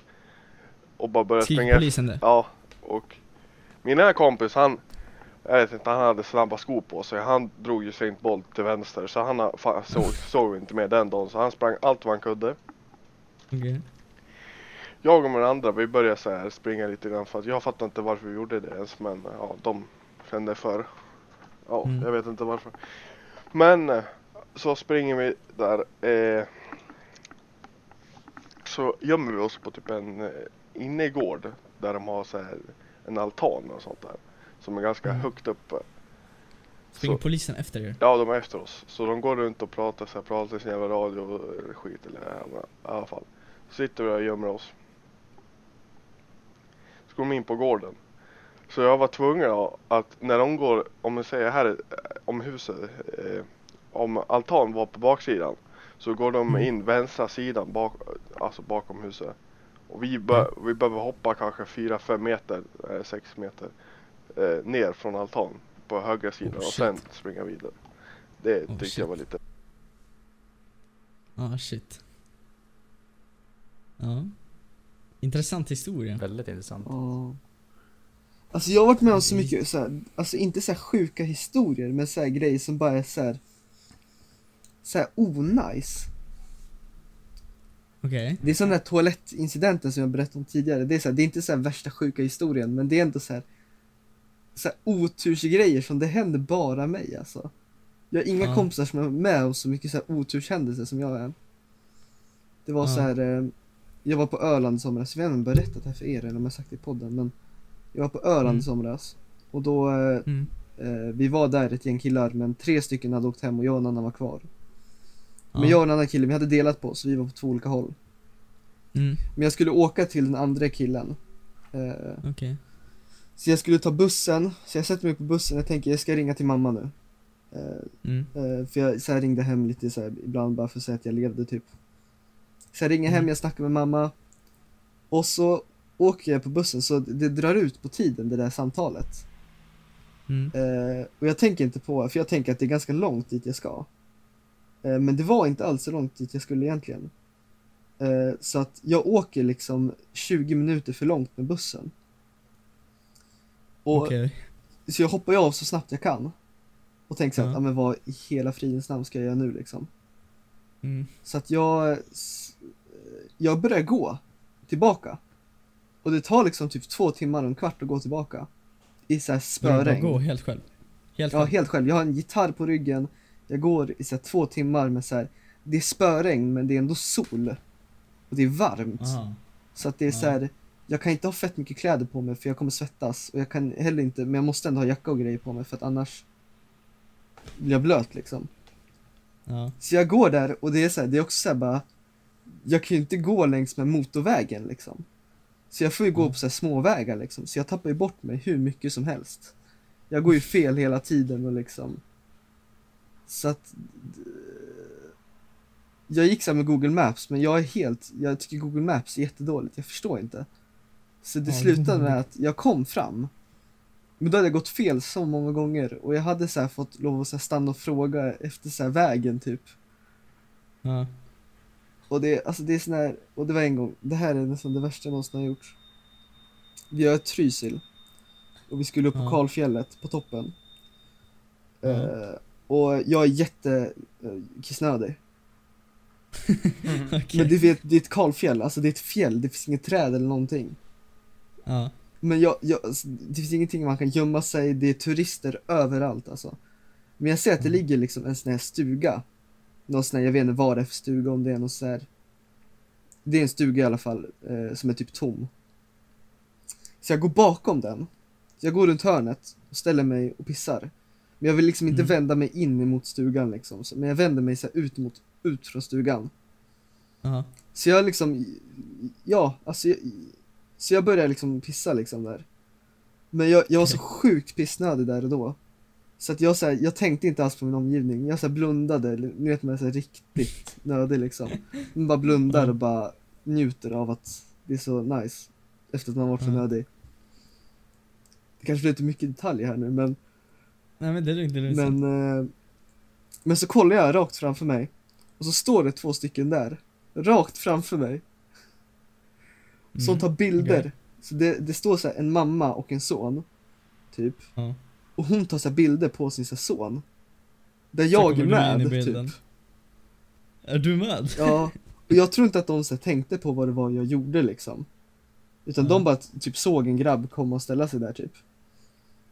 S2: Och bara börjar
S1: Skriker
S2: springa efter.
S1: Typ polisen det?
S2: Ja, och min här kompis han, jag vet inte, han hade snabba skor på sig. Han drog ju sin boll till vänster så han har- fan, såg, såg inte med den dagen. Så han sprang allt vad han kunde.
S1: Okej.
S2: Jag och den andra vi började så här springa lite grann för att jag fattar inte varför vi gjorde det ens men ja, de kände för. Ja,
S1: Mm.
S2: jag vet inte varför. Men eh, så springer vi där. Eh, så gömmer vi oss på typ en eh, innergård där de har så här en altan och sånt där. Som är ganska
S1: Mm.
S2: högt uppe.
S1: Springer
S2: Så-
S1: polisen efter er?
S2: Ja, de är efter oss. Så de går runt och pratar så här, pratar i sin jävla radio och skit eller ja, men i alla fall. Så sitter vi där och gömmer oss. Så går de in på gården. Så jag var tvungen att- att när de går, om vi säger här, eh, om huset, eh, om altan var på baksidan. Så går de
S1: Mm.
S2: in vänstra sidan, bak, alltså bakom huset. Och vi, bör,
S1: Mm.
S2: vi behöver hoppa kanske 4-5 meter, 6 meter eh, ner från altan på högra sidan
S1: Oh,
S2: och
S1: shit.
S2: sen springa vidare. Det tyckte jag
S1: Oh, shit.
S2: var lite...
S1: Ja, ah, shit. Ja. Intressant historia.
S3: Väldigt intressant.
S5: Ja. Alltså jag har varit med om så mycket så här, alltså inte så här sjuka historier men så här grejer som bara är så här, så här onajs.
S1: Okej.
S5: Det är som den här toalettincidenten som jag berättade om tidigare. Det är, så här, det är inte så här värsta sjuka historien men det är ändå så här, så här otursgrejer som det händer bara mig alltså. Jag har inga
S1: Ja.
S5: kompisar som är med om så mycket så här oturshändelser som jag är. Det var
S1: Ja.
S5: så här, eh, jag var på Öland i somras, jag vet inte om jag har berättat det här för er eller om jag har sagt det i podden men jag var på Öland i
S1: Mm.
S5: somras och då, eh,
S1: Mm.
S5: eh, vi var där ett gäng killar men tre stycken hade åkt hem och jag och en annan var kvar.
S1: Ja.
S5: Men jag och en annan kille, vi hade delat på oss, vi var på två olika håll.
S1: Mm.
S5: Men jag skulle åka till den andra killen. Eh,
S1: Okej.
S5: Så jag skulle ta bussen, så jag sätter mig på bussen och tänker jag ska ringa till mamma nu. Eh,
S1: Mm.
S5: eh, För jag så här, ringde hem lite så här, ibland bara för att säga att jag levde typ. Så jag ringer hem,
S1: Mm.
S5: jag snackar med mamma. Och så åker jag på bussen så det det drar ut på tiden det där samtalet.
S1: Mm.
S5: Eh, Och jag tänker inte på, för jag tänker att det är ganska långt dit jag ska. Eh, Men det var inte alls så långt dit jag skulle egentligen. Eh, Så att jag åker liksom 20 minuter för långt med bussen. Och
S1: Okej.
S5: Så jag hoppar ju av så snabbt jag kan. Och tänker så här,
S1: Ja.
S5: ja. men vad i hela fridens namn ska jag göra nu liksom?
S1: Mm.
S5: Så att jag, s- eh, jag börjar gå tillbaka. Och det tar liksom typ två timmar och en kvart att gå tillbaka. I så här
S1: Börjar du bara gå
S5: spöregn.
S1: helt själv? Helt
S5: Ja,
S1: själv?
S5: helt själv. Jag har en gitarr på ryggen. Jag går i så här två timmar med så här, det är spöregn men det är ändå sol. Och det är varmt.
S1: Aha.
S5: Så att det är så här, jag kan inte ha fett mycket kläder på mig för jag kommer svettas och jag kan heller inte, men jag måste ändå ha jacka och grejer på mig för att annars blir jag blöt liksom.
S1: Ja.
S5: Så jag går där och det är så här, det är också så här bara, jag kan ju inte gå längs med motorvägen liksom. Så jag får ju gå
S1: Mm.
S5: på så här småvägar liksom, så jag tappar ju bort mig hur mycket som helst. Jag går ju fel hela tiden och liksom. Så att d- jag gick så här med Google Maps, men jag är helt, jag tycker Google Maps är jättedåligt, jag förstår inte. Så det
S1: Ja,
S5: slutade
S1: Google-
S5: med att jag kom fram, men då hade jag gått fel så många gånger och jag hade så här fått lov att så här stanna och fråga efter så här vägen typ.
S1: Ja.
S5: Mm. Och det, alltså det är sån här, och det var en gång, det här är nästan det värsta jag någonsin har gjort. Vi har ett Trysil. Och vi skulle upp på
S1: Ja.
S5: Karlfjället, på toppen.
S1: Ja.
S5: Eh, och jag är jätte eh, kissnödig.
S1: Okej.
S5: Men du vet, det är ett kalfjäll, alltså det är ett fjäll, det finns inget träd eller någonting.
S1: Ja.
S5: Men jag, jag, alltså, det finns ingenting man kan gömma sig, det är turister överallt alltså. Men jag ser att det ligger liksom en sån här stuga. Någon sån här, jag vet inte vad det är för stuga, om det är någon sån här. Det är en stuga i alla fall, eh, som är typ tom. Så jag går bakom den. Så jag går runt hörnet, och ställer mig och pissar. Men jag vill liksom inte
S1: Mm.
S5: vända mig in emot stugan liksom, så, men jag vänder mig så här ut mot, ut från stugan.
S1: Ja.
S5: Så jag liksom, ja, alltså jag, Så jag började liksom pissa liksom där Men jag, jag var så sjukt pissnödig där och då Så att jag så här, jag tänkte inte alls på min omgivning Jag så här blundade, nu vet man är så här riktigt nödig liksom Man bara blundar och bara njuter av att det är så nice Efter att man varit så
S1: Mm.
S5: nödig Det kanske blir lite mycket detaljer här nu men
S1: Nej men det är lugnt, det är lugnt.
S5: men, eh, men så kollar jag rakt framför mig och så står det två stycken där, rakt framför mig, som
S1: Mm.
S5: tar bilder.
S1: okej.
S5: Så det, det står så här, en mamma och en son, typ.
S1: Ja.
S5: Och hon tar så här, bilder på sin så här, son. Där
S1: Så
S5: jag
S1: kommer
S5: är
S1: du in i
S5: med,
S1: bilden.
S5: typ.
S1: Är du med?
S5: Ja, och jag tror inte att de så här, tänkte på vad det var jag gjorde liksom. Utan
S1: Ja.
S5: de bara typ såg en grabb komma och ställa sig där typ.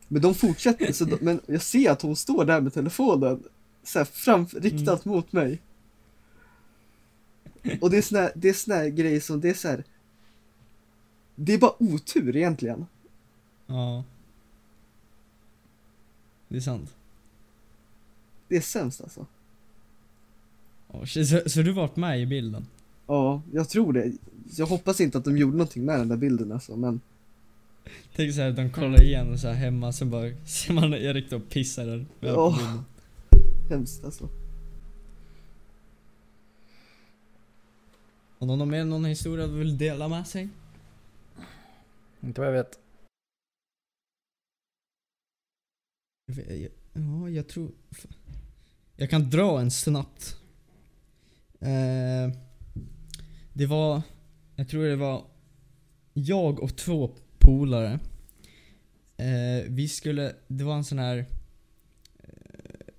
S5: Men de fortsätter, så de, men jag ser att hon står där med telefonen, så här, framför, riktat mot mig. Och det är såna, det är såna här grejer som, det är så här. Det är bara otur egentligen.
S1: Ja. Det är sant.
S5: Det är sämst alltså.
S1: Oh, shit, så, så du varit med i bilden?
S5: Ja, jag tror det. Jag hoppas inte att de gjorde någonting med den där bilden alltså, men
S1: Tänk såhär att de kollar igen och så här hemma, sen bara ser man Erik då pissar där. med på
S5: Åh.
S1: bilden.
S5: hemskt alltså.
S1: Om någon har mer någon historia du vill dela med sig?
S3: Inte vad jag vet.
S1: Ja, jag tror... Jag kan dra en snabbt. Eh, det var... Jag tror det var jag och två polare. Eh, vi skulle... Det var en sån här... eh,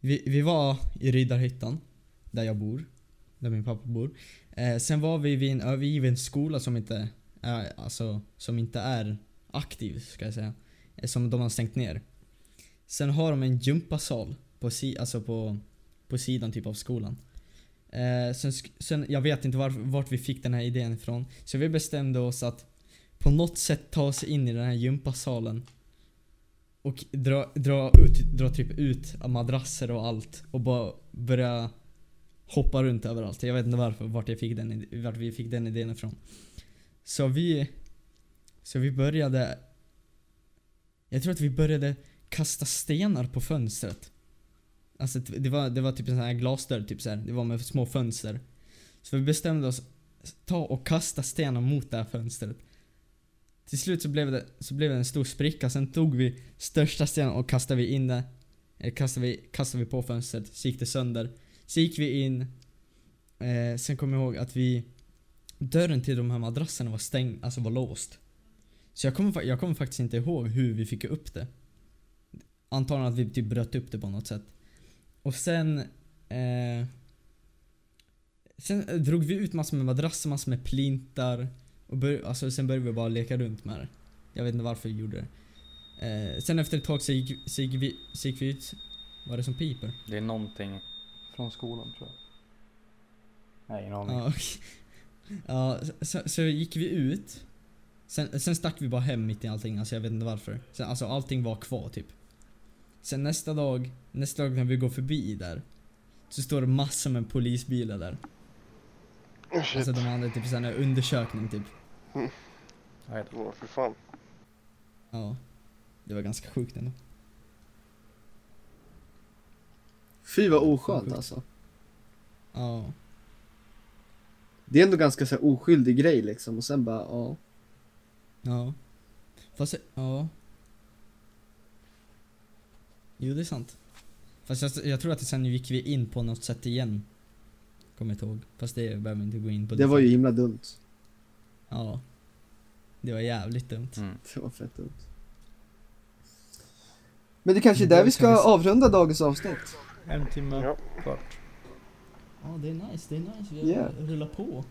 S1: Vi, vi var i Riddarhyttan, där jag bor. Där min pappa bor. Eh, sen var vi vid en övergiven skola som inte är, alltså, som inte är aktiv, ska jag säga. Eh, Som de har stängt ner. Sen har de en gympasal på, si, alltså på, på sidan typ av skolan. Eh, sen, sk- sen, jag vet inte var, vart vi fick den här idén ifrån. Så vi bestämde oss att på något sätt ta oss in i den här gympasalen. Och dra, dra, ut, dra typ ut madrasser och allt och bara börja hoppa runt överallt. Jag vet inte varför, vart, jag fick den, id- vart vi fick den idén ifrån. Så vi... Så vi började... Jag tror att vi började kasta stenar på fönstret. Alltså t- det var, det var typ en sån här glasdörr, typ så här. det var med små fönster. Så vi bestämde oss ta och kasta stenar mot det här fönstret. Till slut så blev det, så blev det en stor spricka, sen tog vi största stenen och kastade vi in det. eh, Kastade vi, kastade vi på fönstret, så gick det sönder. Så gick vi in. Eh, sen kom jag ihåg att vi... Dörren till de här madrasserna var stängd, alltså var låst. Så jag kommer, fa- jag kommer faktiskt inte ihåg hur vi fick upp det. Antagligen att vi typ bröt upp det på något sätt. Och sen... Eh, sen eh, drog vi ut massor med madrasser, massor med plintar. Och bör, alltså, sen började vi bara leka runt med det. Jag vet inte varför vi gjorde det. Eh, sen efter ett tag så gick, så gick, vi, så gick vi ut... Vad är det som piper?
S3: Det är någonting från skolan tror jag. Nej, ingen aning.
S1: Ja, okej. ja så, så gick vi ut. Sen, sen stack vi bara hem mitt i allting, alltså jag vet inte varför. Sen, alltså allting var kvar typ. Sen nästa dag, nästa dag när vi går förbi där. Så står det massor med polisbilar där.
S2: Oh, shit.
S1: Alltså de hade typ sån här undersökning typ.
S3: Jag vet.
S2: Åh, fy fan.
S1: Ja. Det var ganska sjukt ändå.
S5: Fy vad oskönt
S1: Sjukt.
S5: alltså.
S1: Ja.
S5: Det är ändå ganska så här oskyldig grej liksom och sen bara, ja.
S1: Ja. Fast, ja. Jo, det är sant. Fast jag, jag tror att sen gick vi in på något sätt igen. Kommer jag inte ihåg. Fast det behöver vi inte gå in på.
S5: Det var ju himla dumt.
S1: Ja. Det var jävligt dumt.
S3: Mm.
S5: Det var fett dumt. Men det kanske är
S1: Men
S5: där
S1: det
S5: vi
S1: kan
S5: ska
S1: vi-
S5: avrunda dagens avsnitt.
S3: En timme
S2: Ja.
S3: kvart.
S1: Ja, det är nice, det är nice. Vi
S5: Yeah.
S1: rullar på.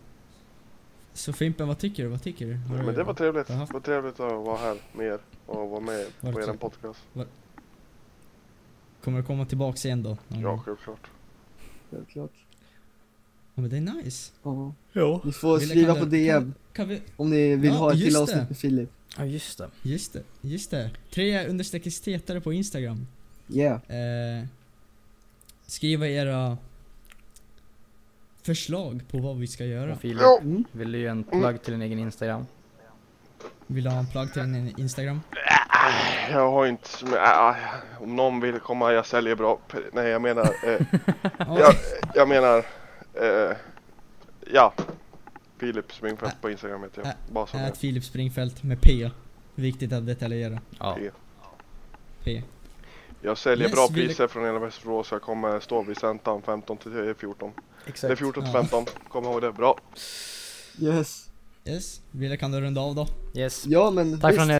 S1: Så Fimpen, vad tycker du? Vad tycker du? Har
S2: Ja, men
S1: du-
S2: det var trevligt.
S1: Jaha.
S2: Det var trevligt att vara här med er och vara med på
S1: Verkligen.
S2: er podcast.
S1: Kommer du komma tillbaks igen då? Någon
S2: Ja,
S1: gång?
S2: självklart.
S5: Självklart.
S1: Ja, men det är nice.
S5: Ja.
S1: Ja.
S5: Ni får skriva på DM
S1: Kan, kan vi,
S5: om ni vill
S1: Ja,
S5: ha ett till
S1: just det.
S5: avsnitt med Filip.
S3: Ja just det.
S1: just det, just det. Tre understreck stetare på Instagram.
S5: Yeah.
S1: Eh, skriva era förslag på vad vi ska göra.
S3: Och Filip
S2: Ja.
S5: Mm.
S3: ville ju en plugg till din egen Instagram.
S1: Vill du ha en plugg till en Instagram?
S2: Jag har inte... så- men, ah, om någon vill komma, jag säljer bra. pr- Nej, jag menar... Eh,
S1: Ja,
S2: jag, jag menar... Eh, ja. Filip
S1: Äh,
S2: Springfeldt på Instagram heter
S1: Ä-
S2: jag. Bara som
S1: Ät Filip Springfeldt med P. Viktigt att detaljera.
S3: Ja.
S2: P.
S1: P.
S2: Jag säljer
S1: Yes,
S2: bra
S1: vill-
S2: priser från hela Västerås. Jag kommer stå vid centan 15 till 14. Det är
S3: Exakt.
S2: 14 till
S1: Ja.
S2: 15. Kom ihåg det. Bra.
S5: Yes.
S1: Yes, Wille kan du runda av då?
S3: Yes.
S5: Ja men
S3: Tack för
S5: visst.
S3: att ni